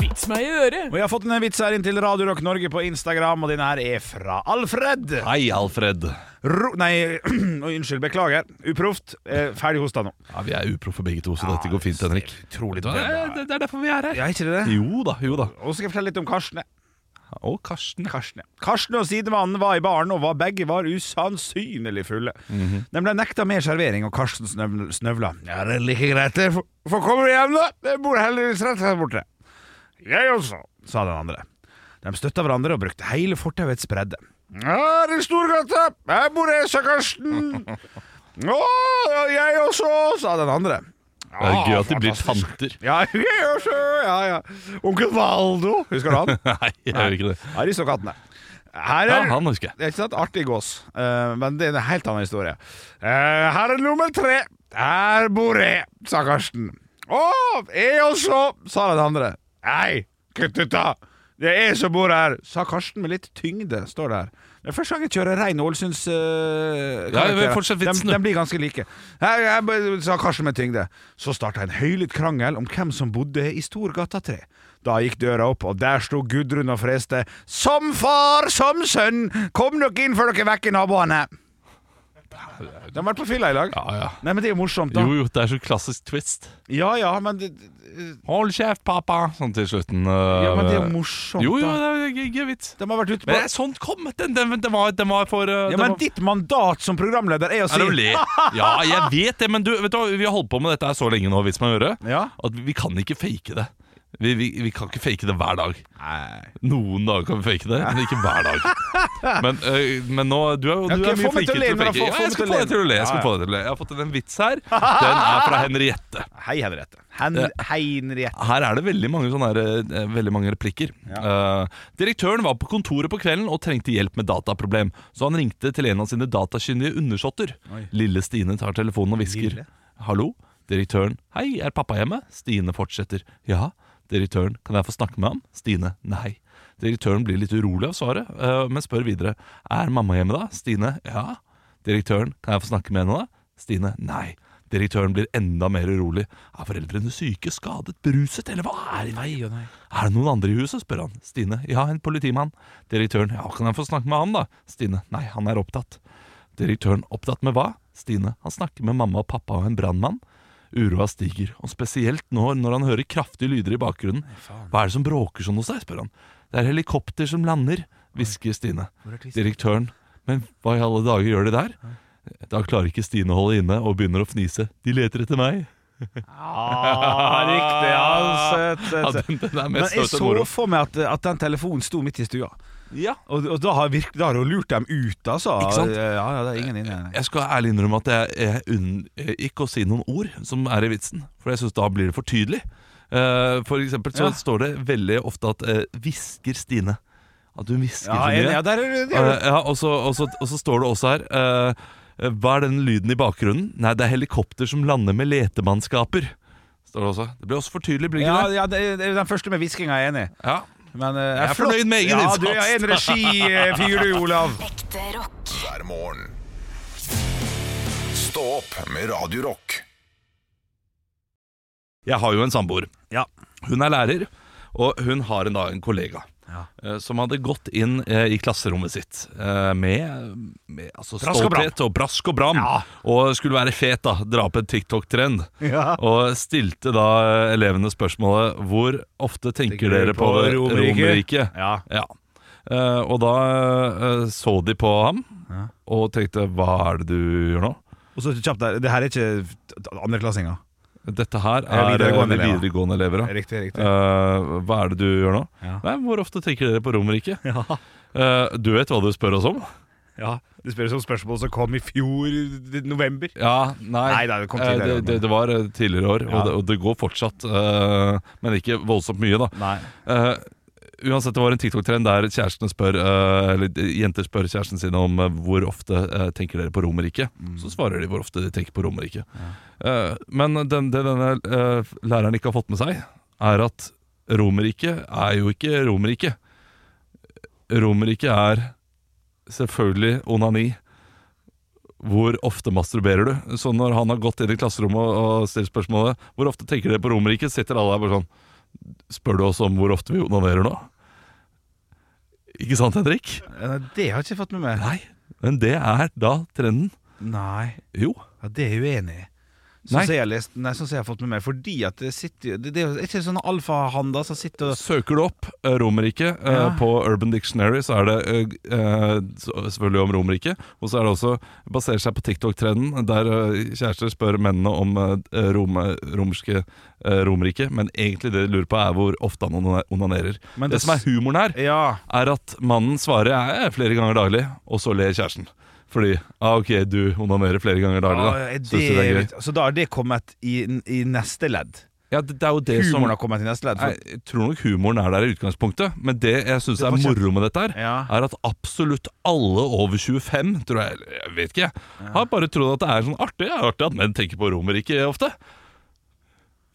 Vits meg i øret. Og jeg har fått en vits her inn til Radio Rock Norge på Instagram, og denne her er fra Alfred. Hei, Alfred. Ro nei, oi, unnskyld, beklager. Uproft. Eh, ferdig hosta nå. Ja, Vi er uproffe begge to, så dette går fint, Henrik. Utrolig Det er, det er derfor vi er her. Ja, ikke det? Jo da, jo da. Og så skal jeg fortelle litt om Karsten. Og Karsten. Karsten, ja. Karsten og sidemannen var i baren, og var, begge var usannsynlig fulle. Mhm. De ble nekta mer servering, og Karsten snøv- snøvla. Ja, det er like greit, det. Få få komme hjem, da. Jeg bor heldigvis rett her borte. Jeg også, sa den andre. De støtta hverandre og brukte hele fortauets bredde. Her i Storgata. Her bor jeg, sa Karsten. Å, jeg også, sa den andre. Det er gøy at de Ah, blir fantastisk. tanter. Ja, jeg også. Ja, ja. Onkel Valdo, husker du han? Nei, jeg gjør ikke det. Aristokattene. Her Ja, er, han husker jeg. det er ikke sant? Artig gås, eh, men det er en helt annen historie. Eh, her er nummer tre. Her bor jeg, sa Karsten. Å, jeg også, sa den andre. Nei, kutt ut, da. Det er jeg som bor her, sa Karsten med litt tyngde, står det her. Det er første gang jeg kjører rein Ålesunds uh, Ja, men fortsett de, vitsen, du. de blir ganske like. Her, jeg, b- sa Karsten med tyngde. Så starta en høylytt krangel om hvem som bodde i Storgata 3. Da gikk døra opp, og der sto Gudrun og freste. Som far, som sønn! Kom dere inn før dere vekker naboene! De har vært på fylla i lag. Ja, ja. Nei, men det er jo morsomt, da. Jo, jo, det er så klassisk twist. Ja ja, men det, det- Hold kjeft, pappa! Sånn til slutten. ja, men det er jo eh, morsomt, Jo, jo, da. det er gøy- gøy vits. De har vært ute på Men det er sånn kom! Den, den, den, var, den var for eh, Ja, den men var- ditt mandat som programleder er å si Er det å le? Ja, jeg vet det, men du, vet du, hva, vi har holdt på med dette her så lenge nå, hvis man gjør det, Ja. at vi kan ikke fake det. Vi, vi, vi kan ikke fake det hver dag. Noen dager kan vi fake det, men ikke hver dag. Men, øh, men nå Du er, jo- Ja, du ok, er få mye meg til å flinkere le, til å men fake. da få- Ja, få jeg meg skal til å få deg til å le. Jeg, skal Ja, få deg til å le. jeg har fått en vits her. Den er fra Henriette. Hei, Henriette. Hen Heinriette. Her er det veldig mange, sånne her, eh, veldig mange replikker. Eh, direktøren var på kontoret på kvelden og trengte hjelp med dataproblem, så han ringte til en av sine datakyndige undersåtter. Lille Stine tar telefonen og hvisker. Lille? Hallo? Direktøren. Hei, er pappa hjemme? Stine fortsetter. Ja. Direktøren. Kan jeg få snakke med ham? Stine. Nei. Direktøren blir litt urolig av svaret, eh, men spør videre. Er mamma hjemme da? Stine. Ja. Direktøren. Kan jeg få snakke med henne da? Stine. Nei. Direktøren blir enda mer urolig. Er foreldrene syke, skadet, beruset, eller hva er det? Er det noen andre i huset, spør han. Stine. Ja, en politimann. Direktøren. Ja, kan jeg få snakke med han, da? Stine. Nei, han er opptatt. Direktøren. Opptatt med hva? Stine. Han snakker med mamma og pappa og en brannmann. Uroa stiger, og spesielt nå når han hører kraftige lyder i bakgrunnen. Hva er det som bråker sånn hos deg, spør han. Det er helikopter som lander, hvisker Stine. Direktøren. Men hva i alle dager gjør de der? Da klarer ikke Stine å holde inne og begynner å fnise. De leter etter meg. Ah, riktig. Ah. Ja, søt, Ja, søt, søt. den, den er Men mest jeg søt og så moro. for meg at, at den telefonen sto midt i stua. Ja. Og, og da har virk- da har hun lurt dem ut, altså. Ikke sant? Ja, ja, det er ingen inne. Jeg skal ærlig innrømme at jeg, jeg unngikk å si noen ord som er i vitsen, for jeg syns da blir det for tydelig. Eh, for eksempel så Ja. står det veldig ofte at eh, 'hvisker Stine'. At hun hvisker Ja, for en, mye. ja, der er det. Eh, ja, og, så, og, så, og så står det også her eh, Hva er den lyden i bakgrunnen? Nei, det er helikopter som lander med letemannskaper. Står det også. Det ble også for tydelig, blir det Ja, ikke det? ja, det er den første med hviskinga er jeg enig i. Ja. Men, eh, er flott. fornøyd med egen innsats. Ja, du er en regifyr, du, Olav. Ekte rock. hver morgen. Stå opp med Radio Rock. Jeg har jo en samboer. Ja. Hun er lærer, og hun har en, da en kollega. Ja. eh, Som hadde gått inn eh, i klasserommet sitt eh, med, med altså, Brask og bram. stolthet og brask og bram. Ja. Og skulle være fet, da. Dra på en TikTok-trend. Ja. Og stilte da eh, elevene spørsmålet Hvor ofte tenker, Tenker dere på, Romerike?» Romerike? Ja. Ja. Eh, og da eh, så de på ham Ja. og tenkte Hva er det du gjør nå? Og så kjapt der, det her er ikke andreklassinger. Dette her er, Er videregående eh, elever. videregående elever. ja. Riktig, riktig. Eh, hva er det du gjør nå? Ja. Nei, Hvor ofte tenker dere på Romerike? Ja. Eh, du vet hva du spør oss om? ja. Det spørres om spørsmål som kom i fjor, i november. Ja, nei, Nei, nei, det kom Eh, tidligere, det, men- det, det var eh, tidligere år, Ja. og, det, og det går fortsatt. eh, men ikke voldsomt mye, da. Nei. Eh, uansett, det var en TikTok-trend der kjærestene spør eh, Eller de- jenter spør kjæresten sin om eh, hvor ofte eh, tenker dere på Romerike. Så svarer de hvor ofte de tenker på Romerike. Eh, men den, det denne eh, læreren ikke har fått med seg, er at Romerike er jo ikke Romerike. Romerike er selvfølgelig onani. Hvor ofte masturberer du? Så når han har gått inn i klasserommet og, og stilt spørsmålet Hvor ofte tenker dere på Romerike? sitter alle her bare sånn Spør du oss om hvor ofte vi onanerer nå? Ikke sant, Henrik? Nei, Eh, Det har jeg ikke fått med meg. Nei. Men det er da trenden. Nei. Jo. Ja, det er jeg uenig i. Sånn Nei. som jeg har lest, nei, sånn som jeg har fått med meg. Fordi at det sitter jo Det, det er jo ikke sånne alfahanner som sitter og Søker du opp eh, Romerike eh, Ja. på Urban Dictionary, så er det eh, eh, så- selvfølgelig om Romerike. Og så er det også baserer seg på TikTok-trenden, der eh, kjærester spør mennene om eh, rom, romerske eh, Romerike. Men egentlig det de lurer på, er hvor ofte han onane- onanerer. Men det, det s- som er humoren her, Ja. er at mannen svarer «Jeg er flere ganger daglig, og så ler kjæresten. Fordi ah, ok, du onanerer flere ganger daglig, Ah, da. er Synes du det er gøy? så da har det kommet i, i neste ledd? Ja, det, det er jo det som Humoren har kommet i neste ledd? For, jeg tror nok humoren er der i utgangspunktet, men det jeg syns Det er var kjempe- moro med dette, her Ja. er at absolutt alle over 25, tror jeg, eller jeg vet ikke, jeg, har bare trodd at det er sånn artig, ja, artig at menn tenker på Romerike ofte.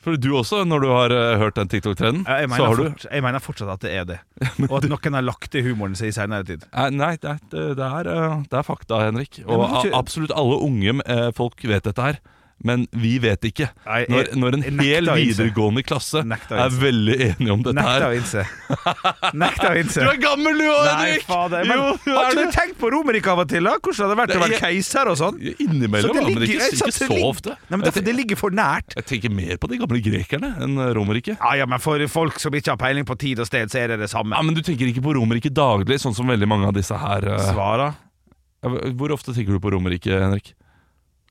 For du også, når du har eh, hørt den TikTok-trenden, Ja, jeg, så mener har du fort, jeg mener fortsatt at det er det. Og at noen har lagt til humoren sin i seinere tid. Nei, Eh, Nei, det, er- det, det, er, eh, det er fakta, Henrik. Og men hvorfor- a- absolutt alle unge eh, folk vet dette her. Men vi vet ikke. Nei, jeg- Når, når en jeg nekter hel å innse. videregående klasse Nekter å er innse. veldig enige om dette Nekta å her. innse. Nekta å innse. Du er gammel du òg, Nei, Henrik! fader. Men jo, du har er ikke det. du tenkt på Romerike av og til? da? Hvordan hadde det vært å Det være er- keiser og sånn? Innimellom, det men ikke, jeg sa, ikke det så ligger- ofte. Nei, men det, er fordi det ligger for nært. Jeg tenker mer på de gamle grekerne enn eh, Romerike. Ja, ja, men For folk som ikke har peiling på tid og sted, så er det det samme. Ja, men Du tenker ikke på Romerike daglig, sånn som veldig mange av disse her. eh. Svara Ja, Hvor ofte tenker du på Romerike, Henrik?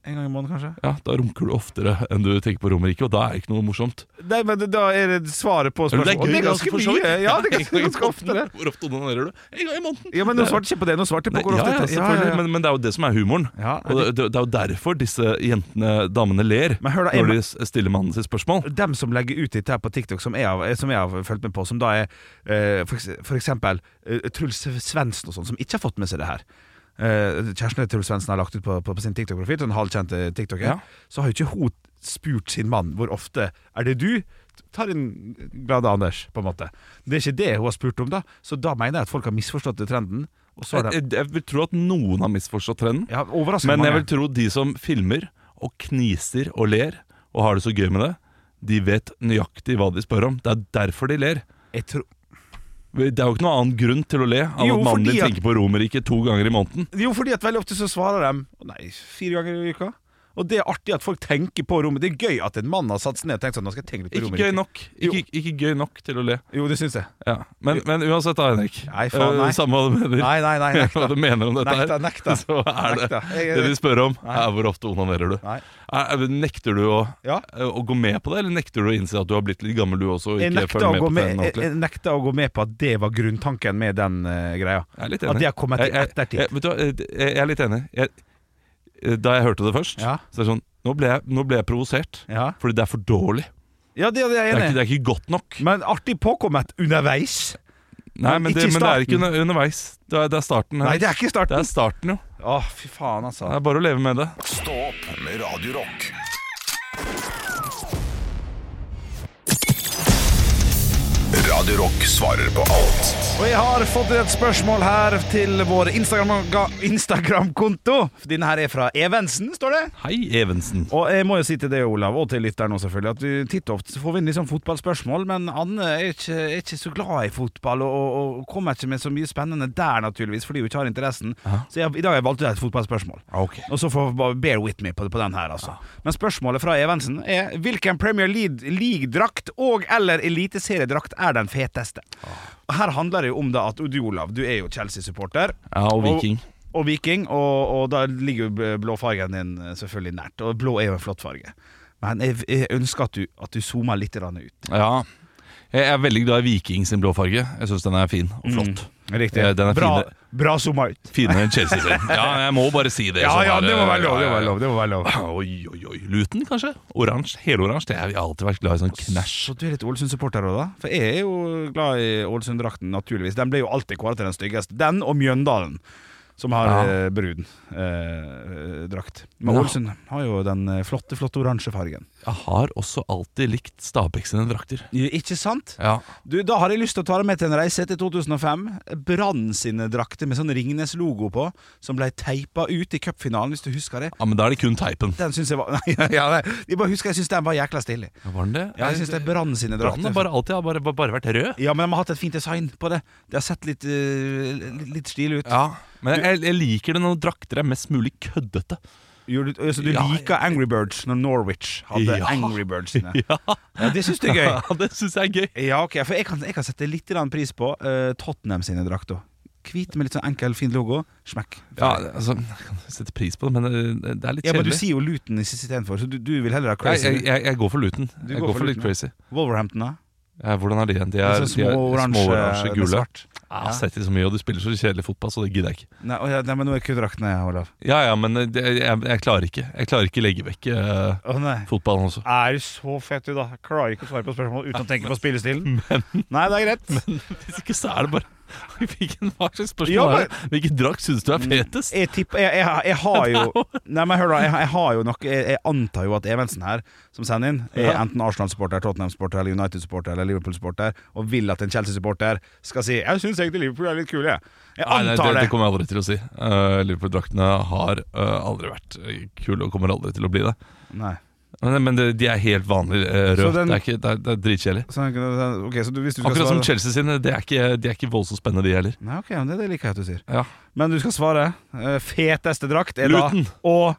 en gang i måneden, kanskje? Ja, Da runker du oftere enn du tenker på Romerike, og da er det ikke noe morsomt. Nei, men Da er det svaret på spørsmålet. Og det er ganske mye. Ja, det er ganske, ganske ofte. det. Hvor ofte onanerer du? En gang i måneden. Ja, Men nå svarte jeg ikke på det. Nå svarte jeg Nei, på hvor ja, ofte. ja, jeg tar- selvfølgelig, Men, men det er jo det som er humoren. Ja, og det, det, det er jo derfor disse jentene, damene, ler Men hør da, jeg- når de s- stiller mannen sitt spørsmål. dem som legger ut dette her på TikTok, som jeg har, som jeg har fulgt med på, som da er eh, for, eks- for eksempel eh, Truls Svendsen og sånn, som ikke har fått med seg det her. Eh, kjæresten til Truls Svendsen har lagt ut på, på, på sin TikTok-profil, sånn halvkjent eh, TikToker, Ja. så har jo ikke hun spurt sin mann hvor ofte er det du tar en glade Anders, på en måte. Det er ikke det hun har spurt om, da, så da mener jeg at folk har misforstått trenden. Og så har Jeg, de, jeg, jeg vil tro at noen har misforstått trenden. ja, overraskende Men jeg vil mange. tro de som filmer og kniser og ler og har det så gøy med det, de vet nøyaktig hva de spør om. Det er derfor de ler. Jeg tror Det er jo ikke noen annen grunn til å le av Jo, at mannen din fordi at- tenker på Romerike to ganger i måneden. Jo, fordi at veldig ofte så svarer de «Å Nei, fire ganger i uka Og det er artig at folk tenker på rommet Det er gøy at en mann har satt seg ned og tenkt sånn Nå skal jeg tenke litt på Ikke rommet gøy nok, ikke, ikke gøy nok til å le. Jo, det synes jeg Ja. Men, men uansett da, Henrik. Nei, faen, eh, nei. Samme hva du mener. Nei, nei, nei, nekta. Hva du mener om dette Nekta, her, nekta. så er det Nekta. Jeg- det de spør om, er hvor ofte onanerer du. Nei. Er, er- nekter du å, eh, Ja. å gå med på det, eller nekter du å innse at du har blitt litt gammel du også? Og jeg ikke nekta, å følger med gå på med, trenden jeg, ordentlig? jeg nekta å gå med på at det var grunntanken med den eh, greia Jeg er litt enig. At det har kommet i Jeg- jeg- ettertid Jeg, vet du hva, jeg, jeg er litt enig. Jeg, eh, da jeg hørte det først, Ja. så er det sånn Nå ble jeg, nå ble jeg provosert, Ja. fordi det er for dårlig. Ja, det, det er Det jeg er, ikke, enig det er ikke godt nok. i Men artig påkommet underveis Nei, Men men, ikke det, i men det er ikke starten. under, underveis. Det er, det er starten. Nei, Henrik. det er ikke det er starten starten, jo. Å, fy faen altså Det er bare å leve med det. Stå opp med Radio Rock. Radio Radio Rock svarer på alt. Og jeg har fått et spørsmål her til vår Instagram- Instagram-konto. Denne her er fra Evensen, står det. Hei, Evensen. Og jeg må jo si til deg, Olav, og til lytteren også selvfølgelig, at vi titt og ofte så får vi inn litt sånn fotballspørsmål, men Anne er ikke, er ikke så glad i fotball, og, og, og kommer ikke med så mye spennende der, naturligvis, fordi hun ikke har interessen. Så jeg, i dag har jeg valgt ut et fotballspørsmål. Ok. Og så får bare bear with me på, på den her, altså. Men spørsmålet fra Evensen er hvilken Premier League- League-drakt og- eller eliteseriedrakt er den feteste? Og Her handler det jo om da at du, Olav, du er jo Chelsea-supporter. Ja, og Viking. Og Viking, og, og da ligger jo bl- blåfargen din eh, selvfølgelig nært. Og blå er jo en flott farge. Men jeg, jeg ønsker at du, at du zoomer litt grann ut. Ja. Jeg er veldig glad i Viking sin blåfarge. Jeg syns den er fin og flott. Riktig. Ja, den er bra, fin. bra zooma ut. Finere enn Chelsea sin. Ja, jeg må bare si det. sånn her, ja, ja, ja. det må være lov. Oi, oi, oi. Luton, kanskje? Oransje. Heloransje. Det har vi alltid vært glad i. Sånn knæsj. Så du er litt Ålesund-supporter òg, da? For jeg er jo glad i Ålesund-drakten, naturligvis. Den ble jo alltid kåret til den styggeste. Den og Mjøndalen, som har Ja. eh, brun eh, drakt. Men Ja. Ålesund har jo den eh, flotte, flotte oransje fargen. Jeg har også alltid likt Stabæk sine drakter. Ikke sant? Ja. Du, Da har jeg lyst til å ta deg med til en reise til 2005. Brann sine drakter med sånn Ringnes-logo på, som ble teipa ut i cupfinalen, hvis du husker det. ja, men da er det kun teipen. Den syns jeg var Nei, ja, nei. Jeg bare husker jeg syns den var jækla stilig. Var den det? Ja, jeg syns det er Brann sine Brann drakter. har bare alltid har bare, bare, bare vært rød. Ja, men de har hatt et fint design på det. Det har sett litt, eh, litt- litt stilig ut. Ja. Men jeg, jeg liker det når drakter er mest mulig køddete. Gjorde du, altså, du Ja, liker Angry Birds når Norwich hadde Ja. Angry Birds sine. Ja, Ja, det syns du er gøy. det syns jeg er gøy. Ja, ok, for jeg kan, jeg kan sette litt grann pris på eh, Tottenham sine drakter. Hvit med litt sånn enkel, fin logo. Smekk. Ja, altså, Jeg kan sette pris på det, men eh, det, det er litt Ja, men du kjedelig. sier jo Luton i siste istedenfor, så du, du vil heller ha jeg, Crazy. jeg, jeg, jeg går for Luton. Du Jeg går går for for litt Luton, ja. crazy. Wolverhampton, da? Ja, hvordan er de igjen? De er, Litt sånn de er små oransje, små oransje med gule. svart. Jeg har sett de så mye, og de spiller så kjedelig fotball, så det gidder jeg ikke. Nei, å ja, nei, men nå er kudraktene, Olav. Ja, ja, men eh, det, jeg, jeg klarer ikke Jeg klarer ikke legge vekk eh, Å nei. fotballen også. Er du så fett du, da? Jeg Klarer ikke å svare på spørsmål uten å tenke på spillestilen. Nei, det er greit. Hvis ikke så er det bare Hvilken hva slags spørsmål Ja, men- Mm, er det? Hvilken drakt syns du er fetest? Jeg tipper jeg, jeg, jeg har jo Nei, men hør da. Jeg, jeg har jo nok jeg, jeg antar jo at Evensen her, som sender inn, er Ja. enten Arsenal-supporter, Tottenham-supporter, eller United-supporter eller Liverpool-supporter, og vil at en Chelsea-supporter skal si 'Jeg syns egentlig Liverpool er litt kule', jeg. Jeg Nei, nei, det, antar det det. kommer jeg aldri til å si. Eh, Liverpool-draktene har eh, aldri vært eh, kule og kommer aldri til å bli det. Nei. Men, men det, de er helt vanlig eh, Så rød. den- Det er, ikke, det er, det er dritkjedelig. Sånn, ok, så du, hvis du skal Akkurat som svare- Chelsea sine. De er ikke, de er ikke voldsomt spennende, de heller. Nei, ok, men det, det liker jeg at du sier. Ja. Men du skal svare. Eh, Feteste drakt er Luton. da Og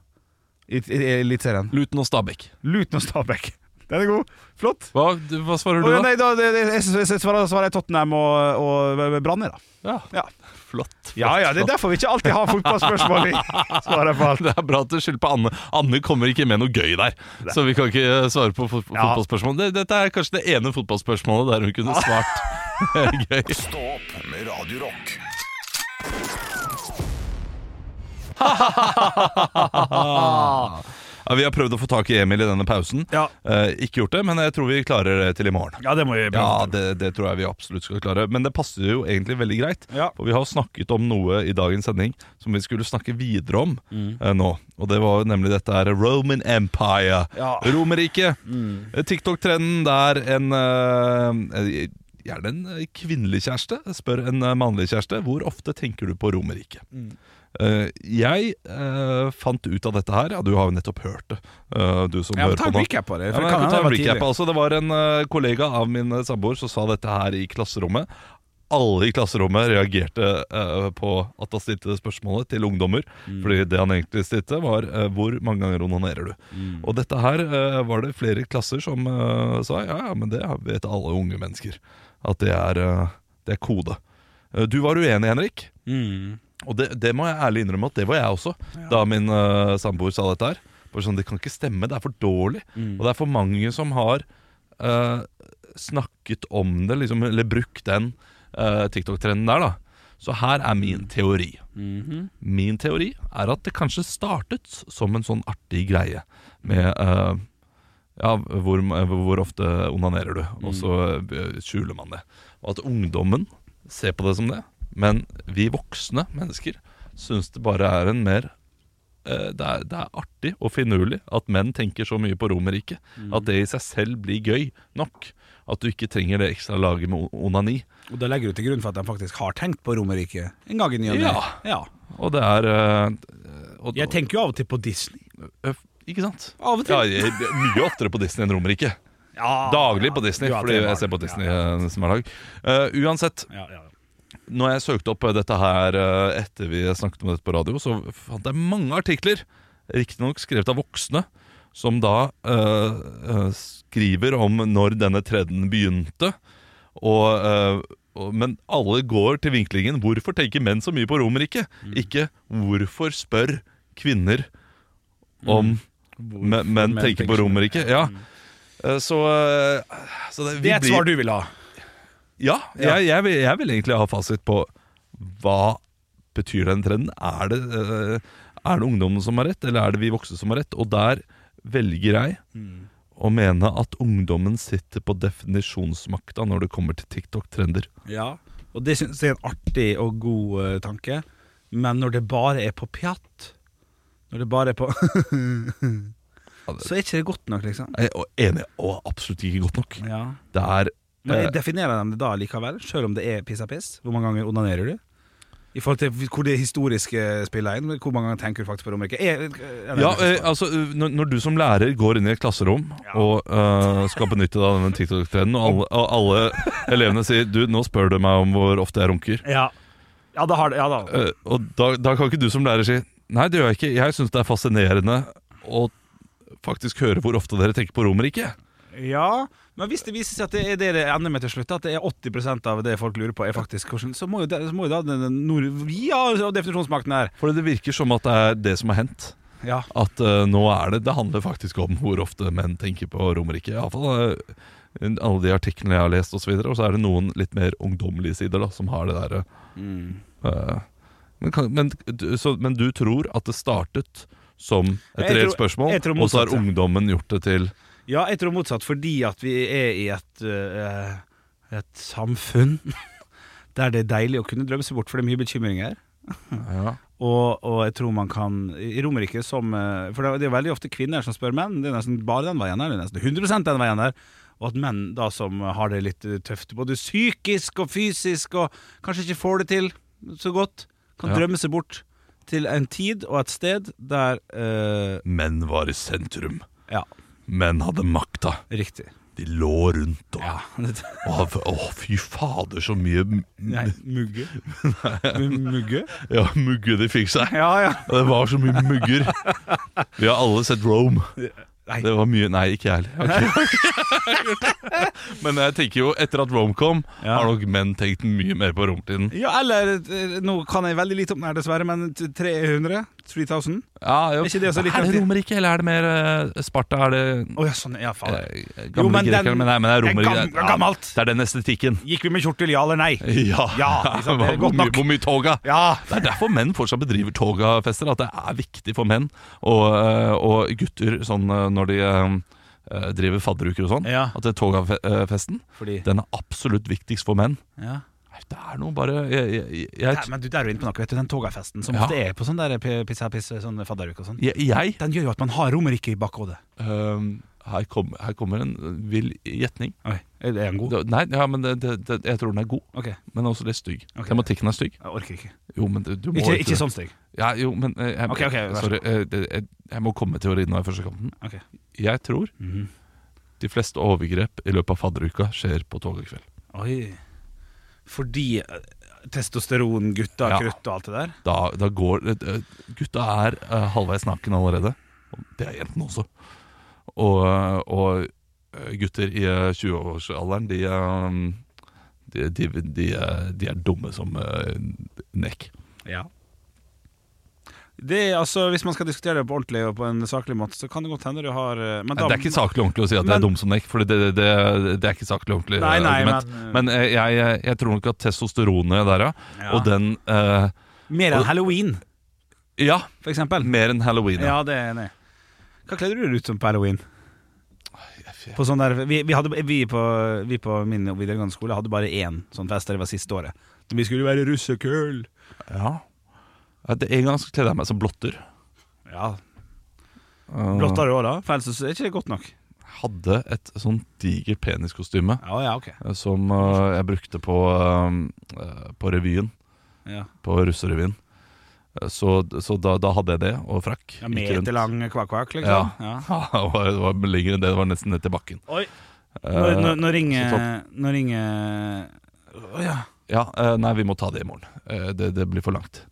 i- i- i Eliteserien. Luton og Stabæk. Luton og Stabæk. Den er god. Flott. Hva, du, hva svarer du Å, da? nei, da det- det- jeg, jeg, jeg svarer, svarer jeg Tottenham og, og Brann, jeg, da. Ja, Ja. flott. flott, ja ja, det er flott. derfor vi ikke alltid har fotballspørsmål i svaret på alt. Det er bra at du skylder på Anne. Anne kommer ikke med noe gøy der. Så vi kan ikke eh, svare på fot Ja. fotballspørsmål. Det- Dette er kanskje det ene fotballspørsmålet der hun kunne svart gøy. Stå opp med Radio Rock. Ja, vi har prøvd å få tak i Emil i denne pausen. Ja. Eh, ikke gjort det, men jeg tror vi klarer det til i morgen. Ja, det må vi Ja, det, det tror jeg vi absolutt skal klare. Men det passer jo egentlig veldig greit. Ja. For vi har snakket om noe i dagens sending som vi skulle snakke videre om Mm. eh, nå. Og det var jo nemlig dette her Roman Empire. Ja. Mm. Romerriket. Eh, TikTok-trenden der en eh, eh, Gjerne en eh, kvinnelig kjæreste spør en eh, mannlig kjæreste hvor ofte tenker du på Romerriket. Mm. Eh, jeg eh, fant ut av dette her. Ja, du har jo nettopp hørt det, eh, du som Ja, men hører ta på en nå. recap på det. Ja, For men det jeg kan kan ta en hende det var recap. Altså, det var en eh, kollega av min eh, samboer som sa dette her i klasserommet. Alle i klasserommet reagerte eh, på at han stilte det spørsmålet til ungdommer. Fordi det han egentlig stilte, var eh, 'hvor mange ganger onanerer du?' Og dette her eh, var det flere klasser som eh, sa ja, ja, men det vet alle unge mennesker. At det er, eh, det er kode. Eh, du var uenig, Henrik. Og det, det må jeg ærlig innrømme at det var jeg også da min eh, samboer sa dette her. Bare sånn, Det kan ikke stemme, det er for dårlig. Og det er for mange som har eh, snakket om det, liksom, eller brukt den eh, TikTok-trenden der. da. Så her er min teori. Min teori er at det kanskje startet som en sånn artig greie med eh, ja, hvor, hvor ofte onanerer du? Og så eh, skjuler man det. Og at ungdommen ser på det som det. Men vi voksne mennesker syns det bare er en mer eh, det, er, det er artig og finurlig at menn tenker så mye på Romerriket Mm. at det i seg selv blir gøy nok. At du ikke trenger det ekstra laget med o- onani. Og det legger du til grunn for at de faktisk har tenkt på Romerike en gang i ny og ne. Ja. Og det er eh, og, Jeg tenker jo av og til på Disney. Øh, Ikke sant? Av og til. Ah. Ja, jeg, det er mye oftere på Disney enn Romerriket. Daglig på Disney, Du har fordi tre barn. jeg ser på Disney Ja, eh, nesten hver dag. Eh, uansett, ja, ja, ja. når jeg søkte opp dette her eh, etter vi snakket om dette på radio, så fant jeg mange artikler, riktignok skrevet av voksne, som da eh, eh, skriver om når denne trenden begynte. Og, eh, og, men alle går til vinklingen 'Hvorfor tenker menn så mye på Romerriket?' Mm. Ikke 'Hvorfor spør kvinner om men, menn Mm. menn tenker tenker på så mye?» Mm. Romerriket?' Ja. Eh, Så, eh, så det, vi Det er et blir- svar du vil ha. ja, jeg, jeg, vil, jeg vil egentlig ha fasit på hva betyr den trenden. Er det, eh, er det ungdommen som har rett, eller er det vi voksne som har rett? Og der velger jeg å mene at ungdommen sitter på definisjonsmakta når det kommer til TikTok-trender. Ja, og det syns jeg er en artig og god eh, tanke. Men når det bare er på pjatt, når det bare er på Så er ikke det godt nok, liksom. Jeg er enig, og absolutt ikke godt nok. Ja. Det er Men eh, jeg definerer dem det da likevel, sjøl om det er piss er piss? Hvor mange ganger onanerer du? I forhold til hvor det historiske spiller inn, hvor mange ganger tenker du faktisk på Romerike? eh, Er- er det- ja, eh, altså eh, når, når du som lærer går inn i et klasserom og eh, skal benytte deg av denne TikTok-trenden, og alle, og alle elevene sier du, 'nå spør du meg om hvor ofte jeg runker', ja. ja, da har det Ja da. Eh, og da, da kan ikke du som lærer si Nei, det gjør jeg ikke. Jeg syns det er fascinerende å faktisk høre hvor ofte dere tenker på Romerike. Ja, men hvis det viser seg at det er det det ender med til slutt, at det er 80 av det folk lurer på, er faktisk hvordan, så må jo, det, så må jo da den, den nord, Vi har jo definisjonsmakten her! Fordi det virker som at det er det som har hendt. Ja. At eh, nå er det Det handler faktisk om hvor ofte menn tenker på Romerike. Iallfall uh, alle de artiklene jeg har lest, og så, videre, og så er det noen litt mer ungdommelige sider da som har det derre men, kan- men, du- så- men du tror at det startet som et Jeg reelt tror- spørsmål, jeg tror og så motsatt, har ja. ungdommen gjort det til ja, jeg tror motsatt, fordi at vi er i et, øh, et samfunn der det er deilig å kunne drømme seg bort, for det er mye bekymringer. ja. Og, og jeg tror man kan I Romerike som eh, For det er- det er veldig ofte kvinner som spør menn. Det er nesten bare den veien her. Det er nesten 100 den veien her. Og at menn da som har det litt eh, tøft, både psykisk og fysisk, og kanskje ikke får det til så godt, kan Ja. drømme seg bort til en tid og et sted der eh, Menn var i sentrum. Ja, Menn hadde makta. riktig. De lå rundt og Ja. Å, f- å, fy fader, så mye m- Nei, mugge? mugge? ja, mugge de fikk seg. Ja, ja. Og Det var så mye mugger. Vi har alle sett Rome. Nei. Det var mye Nei, ikke jeg heller. Jeg har ikke- Men jeg tenker jo, etter at Rome kom, Ja. har nok menn tenkt mye mer på romtiden. Ja, eller eh, Nå kan jeg veldig lite om den her, dessverre, men 300? 3000? Ja, jo. Er ikke det også litt er det artig? Romerike, eller er det mer eh, Sparta? Er det Å ja, sånn. Ja, faen. eh, Jo, gamle men den- grekere? Men nei, men det er det er Romerike. gam- gammelt. Ja, det er den estetikken. Gikk vi med kjortel, ja eller nei? Ja, Ja, ikke sant, det er hvor, godt mye, nok. hvor mye toga? Ja. Det er derfor menn fortsatt bedriver togafester. At det er viktig for menn og, øh, og gutter sånn øh, når de øh, driver fadderuker og sånn. Ja. At det er togafesten Fordi den er absolutt viktigst for menn. ja. Nei, Det er noe bare Jeg, jeg, jeg, Nei, men du, der er du inne på noe, vet du. Den togafesten som Ja. ofte er på sånn der p- piss her, piss, sånn fadderuke og sånn. jeg, jeg Den gjør jo at man har Romerike i bakhodet. øhm, her, kom, her kommer en øh, vill gjetning. Oi, er den god? Det- Nei, ja, men det, det, det, jeg tror den er god, Ok, jeg men også litt stygg. Ok. Tematikken er stygg. orker ikke. Jo, men du, du må Ikke, ikke ikke det. sånn stygg. Ja, jo, men eh, jeg, Ok, ok, vær så Sorry, eh, det- jeg, jeg må komme med teorien nå i første kampen. Ok. Jeg tror Mhm. de fleste overgrep i løpet av fadderuka skjer på toget i kveld. Oi. Fordi eh, testosteron, gutta, Ja. krutt og alt det der? Da, da går eh, Gutta er eh, halvveis naken allerede. Og Det er jentene også. Og, eh, og eh, gutter i eh, 20-årsalderen, de, eh, de, de, de, eh, de er dumme som eh, nekk. Ja. Det er, altså, Hvis man skal diskutere det på ordentlig og på en saklig måte, så kan det godt hende du har eh, men Nei, da- det er ikke saklig ordentlig å si at jeg Men- er dum som nekk, for det, det, det, det er ikke saklig ordentlig eh, Nei, nei, argument. men- Men, eh, jeg, jeg, jeg tror nok at testosteronet der, ja, Ja. og den eh, Mer enn halloween, Ja, for eksempel. mer enn halloween. Ja, det er jeg enig i. Hva kledde du deg ut som på halloween? På sånn der, vi, vi, hadde, vi, på, vi på min videregående skole hadde bare én sånn fest, det var siste året. Men Vi skulle være russekøl. Ja. Ja, Det En gang så kledde jeg meg som sånn blotter. Ja. Blotta du òg, da? For ellers så er det ikke godt nok. Hadde et sånn diger peniskostyme Ja, ja, ok. eh, som eh, jeg brukte på, eh, eh, på revyen. Ja. På russerevyen. Eh, Så, så da, da hadde jeg det, og frakk. Ja, Gikk rundt. meter lang kvakk-kvakk, Ja. liksom. Ja. det, var, det var lenger enn det, det var nesten ned til bakken. Oi. Eh, Nå, nå, nå så ringer topp. Nå ringer Å ja. Ja, eh, nei, vi må ta det i morgen. Eh, det, det blir for langt.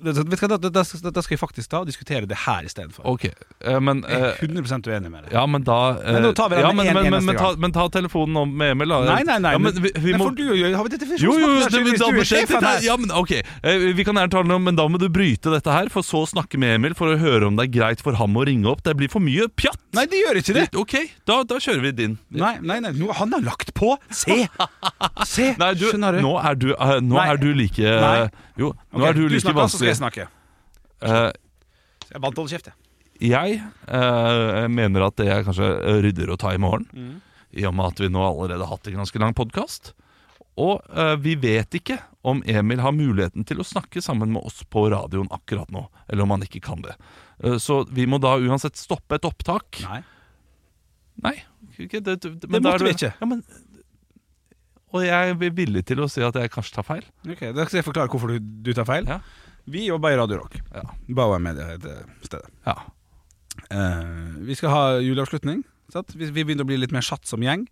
Vet du hva, Dette skal, dette skal jeg faktisk ta og diskutere det her istedenfor. Ok, eh, men Jeg eh, er 100 uenig med deg. Ja, men da eh, Men nå tar vi den ja, med men, en men, men, eneste ta, gang. men ta telefonen om med Emil, da. Nei, nei, nei. Ja, men vi, vi må, for du og jeg har vi dette jo, jo, fiskeoppsnakken, det, men hvis da du må er skje- sjefen her. ja, men, ok, eh, Vi kan gjerne ta den om, men da må du bryte dette her, for så å snakke med Emil for å høre om det er greit for ham å ringe opp. Det blir for mye pjatt! Nei, det gjør ikke det. Ok, da, da kjører vi din. Nei, nei, nei, nå, han har lagt på. Se! Se, Nei, du, skjønner du? nå er du, eh, nå Nei. er du like eh, Nei. Jo, nå Ok, er du like snakker, så skal vanskelig. jeg snakke. Eh, Jeg vant holde kjeft, jeg. Jeg eh, mener at det er kanskje ryddigere å ta i morgen, Mm. i og med at vi nå allerede har hatt en ganske lang podkast. Og eh, vi vet ikke om Emil har muligheten til å snakke sammen med oss på radioen akkurat nå, eller om han ikke kan det. Eh, så vi må da uansett stoppe et opptak. Nei. Nei, ikke, det, det, Det men da er måtte vi ikke. Ja, men, og jeg er villig til å si at jeg kanskje tar feil. Ok, Da skal jeg forklare hvorfor du, du tar feil. Ja. Vi jobber i Radio Rock. Ja. Bauer Media heter stedet. Ja. Eh, vi skal ha juleavslutning. Sant? Vi, vi begynner å bli litt mer satt som gjeng.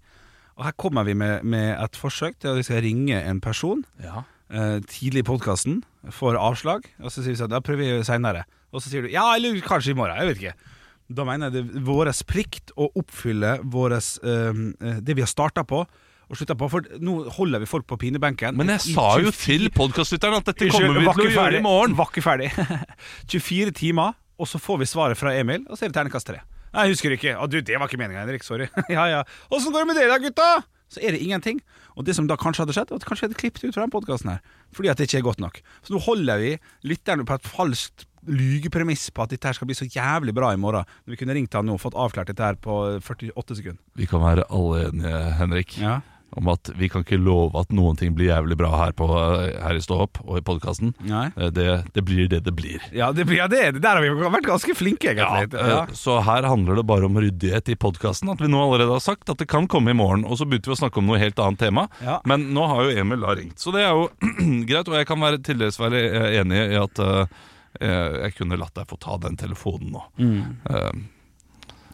Og her kommer vi med, med et forsøk til at vi skal ringe en person ja. eh, tidlig i podkasten, får avslag, og så sier vi sånn Da prøver vi seinere. Og så sier du ja, eller kanskje i morgen. Jeg vet ikke. Da mener jeg det er vår plikt å oppfylle våres, eh, eh, det vi har starta på og slutta på. For nå holder vi folk på pinebenken. Men jeg i sa jo 24 til podkastlytteren at dette Unnskyld, kommer vi var til å ikke gjøre ferdig. i morgen. Var ikke ferdig. 24 timer, og så får vi svaret fra Emil, og så er det terningkast tre. Nei, jeg husker ikke. Å, du, det var ikke meninga, Henrik. Sorry. ja, ja. Åssen går det med dere, da, gutta? Så er det ingenting. Og det som da kanskje hadde skjedd, var at kanskje jeg hadde klippet ut fra den podkasten her. Fordi at det ikke er godt nok. Så nå holder vi lytterne på et falskt lygepremiss på at dette her skal bli så jævlig bra i morgen. Når vi kunne ringt han nå og fått avklart dette her på 48 sekunder. Vi kan være alle enige, Henrik, Ja. om at vi kan ikke love at noen ting blir jævlig bra her, på, her i Stå opp og i podkasten. Nei. Det, det blir det det blir. Ja, det, blir- ja, det, er det. der har vi vært ganske flinke, egentlig. eh, Så her handler det bare om ryddighet i podkasten. At vi nå allerede har sagt at det kan komme i morgen. Og så begynte vi å snakke om noe helt annet tema. Ja. Men nå har jo Emil da ringt. Så det er jo greit. Og jeg kan være til dels være eh, enig i at eh, eh, jeg kunne latt deg få ta den telefonen nå. Eh,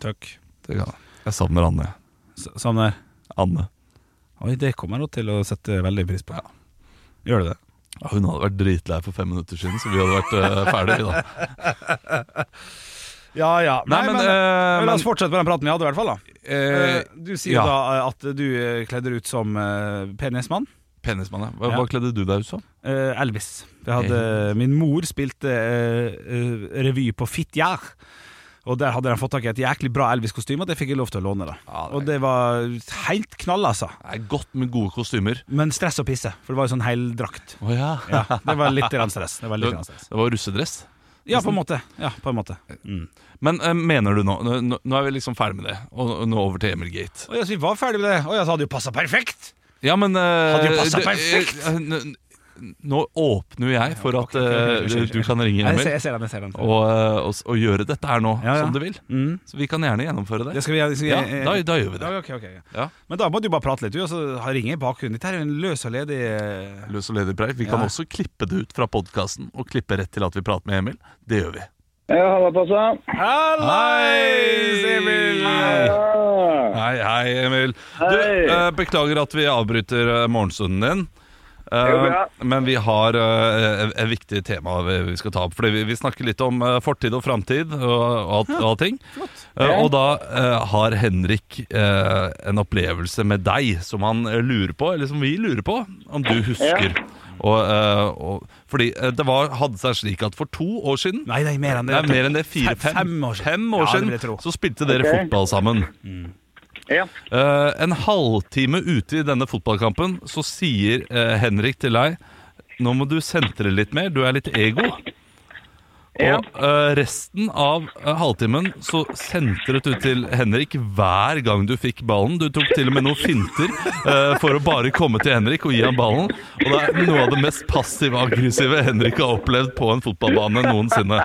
Takk. det kan jeg. Jeg savner Anne. S- Sander. Anne. Oi, det kommer jeg nå til å sette veldig pris på. Gjør du det? Ja, Hun hadde vært dritlei for fem minutter siden, så vi hadde vært eh, ferdige. da Ja, ja. Nei, men, eh, la men oss fortsette med den praten vi hadde, i hvert fall. da eh, Du sier ja. da eh, at du eh, kledde deg ut som eh, penismann. Penismann, ja. Hva, Ja. hva kledde du deg ut som? Eh, Elvis. Jeg hadde, min mor spilte eh, eh, revy på Fitjar. Og der hadde de fått tak i et jæklig bra Elvis-kostyme, og det fikk jeg lov til å låne. da Ja, det er Og det var helt knall, altså. Det er godt med gode kostymer. Men stress å pisse, for det var jo sånn heldrakt. Å ja. Ja, det var litt grann stress. Det var Det, litt grann stress. det var russedress. Ja, på en måte. Ja, på en måte. Mm. Men eh, mener du nå nå, nå er vi liksom ferdig med det, og og nå over til Emil Gate. Å ja, så vi var ferdig med det. Å ja, så hadde jo passa perfekt! Ja, men eh, Hadde jo passet det- perfekt. eh, n- n- Nå åpner jo jeg for at ok, ok, ok, eh, ok. du kan ringe Jeg ser, Emil jeg ser den. jeg ser den og, eh, og, s- og gjøre dette her nå Ja, ja. som du vil. Mm. Så vi kan gjerne gjennomføre det. Det skal vi, skal vi ja, da, da gjør vi det. Ja, ok, ok, ok. Ja. Men da må du bare prate litt, du, og så ringer jeg i bakgrunnen. Dette er jo en løs og ledig eh, Løs og ledig preik. Vi kan Ja. også klippe det ut fra podkasten og klippe rett til at vi prater med Emil. Det gjør vi. Ja, halla, passa. Hallais, Emil! Hei, hei, Emil. Du, Hei. eh, beklager at vi avbryter eh, morgenstunden din. Eh, Det går bra. men vi har eh, et- et viktig tema vi, vi skal ta opp. Fordi vi, vi snakker litt om eh, fortid og framtid og, og alt- og allting. Eh, og da eh, har Henrik eh, en opplevelse med deg som han eh, lurer på, eller som vi lurer på, om du husker. Og, eh, og, fordi eh, det var, hadde seg slik at for to år siden Nei, nei, mer enn det. Nei, mer enn det. Fire, Fem- fem, fem år siden. fem år Ja, det siden vil jeg tro. så spilte dere fotball sammen. Ja. Eh, en halvtime ute i denne fotballkampen så sier eh, Henrik til deg Nå må du sentre litt mer, du er litt ego. Og eh, resten av eh, halvtimen så sentret du til Henrik hver gang du fikk ballen. Du tok til og med noen finter eh, for å bare komme til Henrik og gi ham ballen. Og det er noe av det mest passiv-aggressive Henrik har opplevd på en fotballbane noensinne.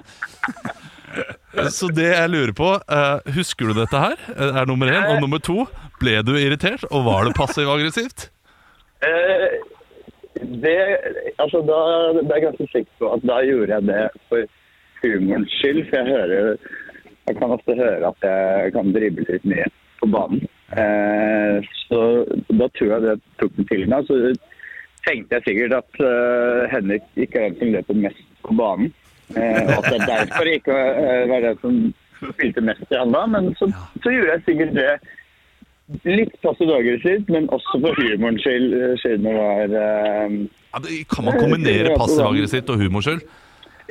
Så det jeg lurer på eh, Husker du dette her? Eh, Er nummer én. Og nummer to, ble du irritert, og var det passiv-aggressivt? Eh, det, altså da, det er jeg ganske sikker på at da gjorde jeg det for humorens skyld. For jeg hører Jeg kan ofte høre at jeg kan drible litt mye på banen. Eh, så da tror jeg det tok meg til meg. Så tenkte jeg sikkert at eh, Henrik ikke er den som løper mest på banen. Eh, og at jeg derfor ikke eh, var den som spilte mest i handa. Men så, så gjorde jeg sikkert det litt passiv aggressivt, men også for humorens skyld, eh, siden det var eh, Ja, det, kan man kombinere passiv-aggressivt og humorskyld?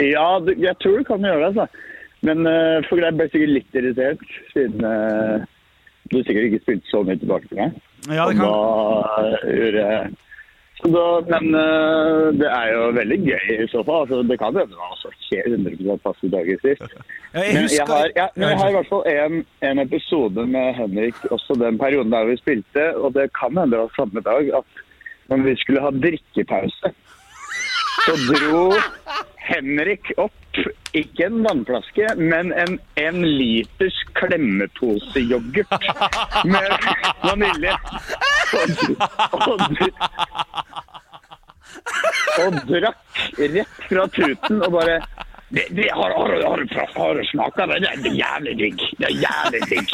Ja, du- jeg tror du kan gjøre det, altså. Men eh, for jeg ble sikkert litt irritert, siden eh, du sikkert ikke spilte så mye tilbake til meg. Ja, det Og kan da eh, gjorde jeg så da, Men eh, det er jo veldig gøy i så fall. Altså, det kan hende man også skjer 100 passivt aggressivt. Jeg Men jeg husker har, ja, men jeg har i hvert fall en, en episode med Henrik også den perioden der vi spilte, og det kan hende det var samme dag at når vi skulle ha drikkepause, så dro Henrik opp ikke en vannflaske, men en en liters klemmeposeyoghurt med vanilje. Og, og, og drakk rett fra tuten og bare det, det har, har, har, du- har du smaka det? Det er jævlig digg. Det er jævlig digg.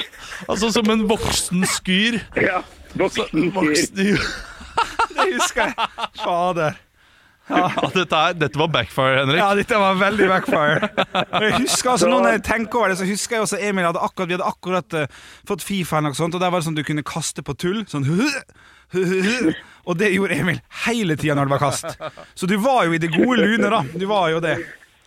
Altså som en voksen skyr. Ja, voksen fyr. Voksen, Det husker jeg. Fader. Ja, dette, er, dette var backfire, Henrik. Ja, dette var veldig backfire. Og Jeg husker altså, nå når jeg tenker over det, så husker jeg også Emil hadde akkurat, vi hadde akkurat eh, fått Fifa og sånt, og der var det sånn du kunne kaste på tull, sånn Og det gjorde Emil hele tida når det var kast. Så du var jo i det gode lune, da. Du var jo det.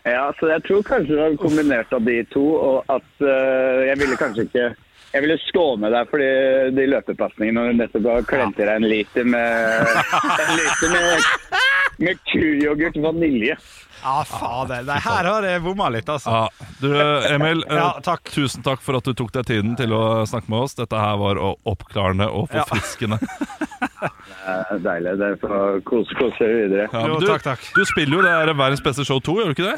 Ja, så jeg tror kanskje det var kombinert av de to, og at eh, jeg ville kanskje ikke jeg ville skåne deg for de, de løpepasningene når du nettopp har klemt i deg en liter med, en liter med, med kuyoghurt vanilje. Ja, fader. Nei, her har jeg bomma litt, altså. Ja, du, Emil, eh, Ja, takk. tusen takk for at du tok deg tiden til å snakke med oss. Dette her var eh, oppklarende og forfriskende. Ja. Eh, Deilig. Det får kose, kose videre. men Jo, du, takk, takk. du spiller jo det her Verdens beste show 2, gjør du ikke det?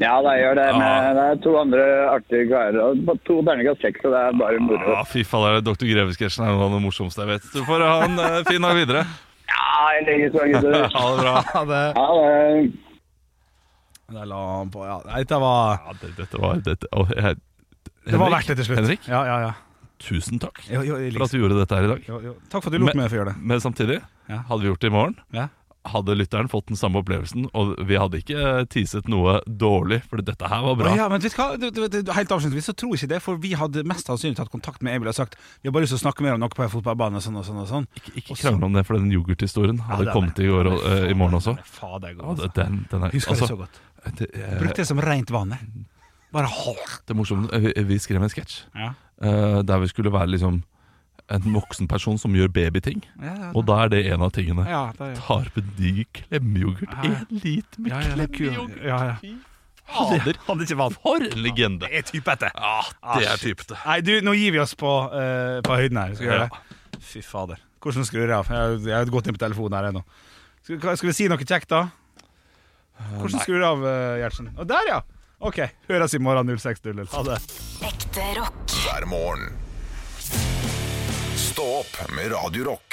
Ja, det gjør det. Ja. Men det er to andre artige karer. og bare To terningkast seks, og det er bare moro. Ja, Ah, fy faen, det er Dr. Greve-sketsjen er noe av det morsomste jeg vet. Du får ha en eh, fin dag videre. Ja, jeg legger så gutter. Ha det bra. Ja, det Ha det. Der la han på, ja. Nei, Dette var Ja, det, dette var dette, å, jeg, Det var Henrik, verdt det til slutt. Henrik, Ja, ja, ja. tusen takk Jo, jo, jeg for at liker- du gjorde dette her i dag. jo, jo. Takk for at du lot Men- meg få gjøre det. Men samtidig, Ja. hadde vi gjort det i morgen Ja. hadde lytteren fått den samme opplevelsen, og vi hadde ikke eh, teaset noe dårlig, for dette her var bra. Ja, men vet du hva? Du, du, du, du- helt avslutningsvis så tror jeg ikke det, for vi hadde mest sannsynlig tatt kontakt med Emil og sagt vi har bare lyst til å snakke mer om noe på en fotballbane og sånn og sånn. og sånn. Ikke, ikke krangle om det, for den yoghurthistorien hadde den er- kommet i, går, og, eh, i morgen også. Fader, jeg går, Ja, altså. det- den, den er, Husker altså, det så godt. det, eh, Brukte det som rent vann. jeg. Bare hold. det er morsomt. Vi, vi skrev en sketsj Ja. eh, der vi skulle være liksom en voksen person som gjør babyting, Ja, ja, og da er det en av tingene. ja, det er jo- Tar med digg klemmeyoghurt. Ja, ja. En liter med Ja, ja, det er kul. klemmeyoghurt! Ja, ja. Fy fader, for en legende! Jeg er typete. Ja, det er typete. Nei, du, nå gir vi oss på, eh, på høyden her. Skal vi gjøre det? Fy fader. Hvordan skrur jeg av? Jeg har- Jeg har gått inn på telefonen her ennå. Skal, hva- skal vi si noe kjekt, da? Hvordan skrur du av, eh, Gjertsen? Å, der, ja! OK. Høres i morgen 06.00. Ha det. Ekte rock. hver morgen. Stå opp med Radio Rock.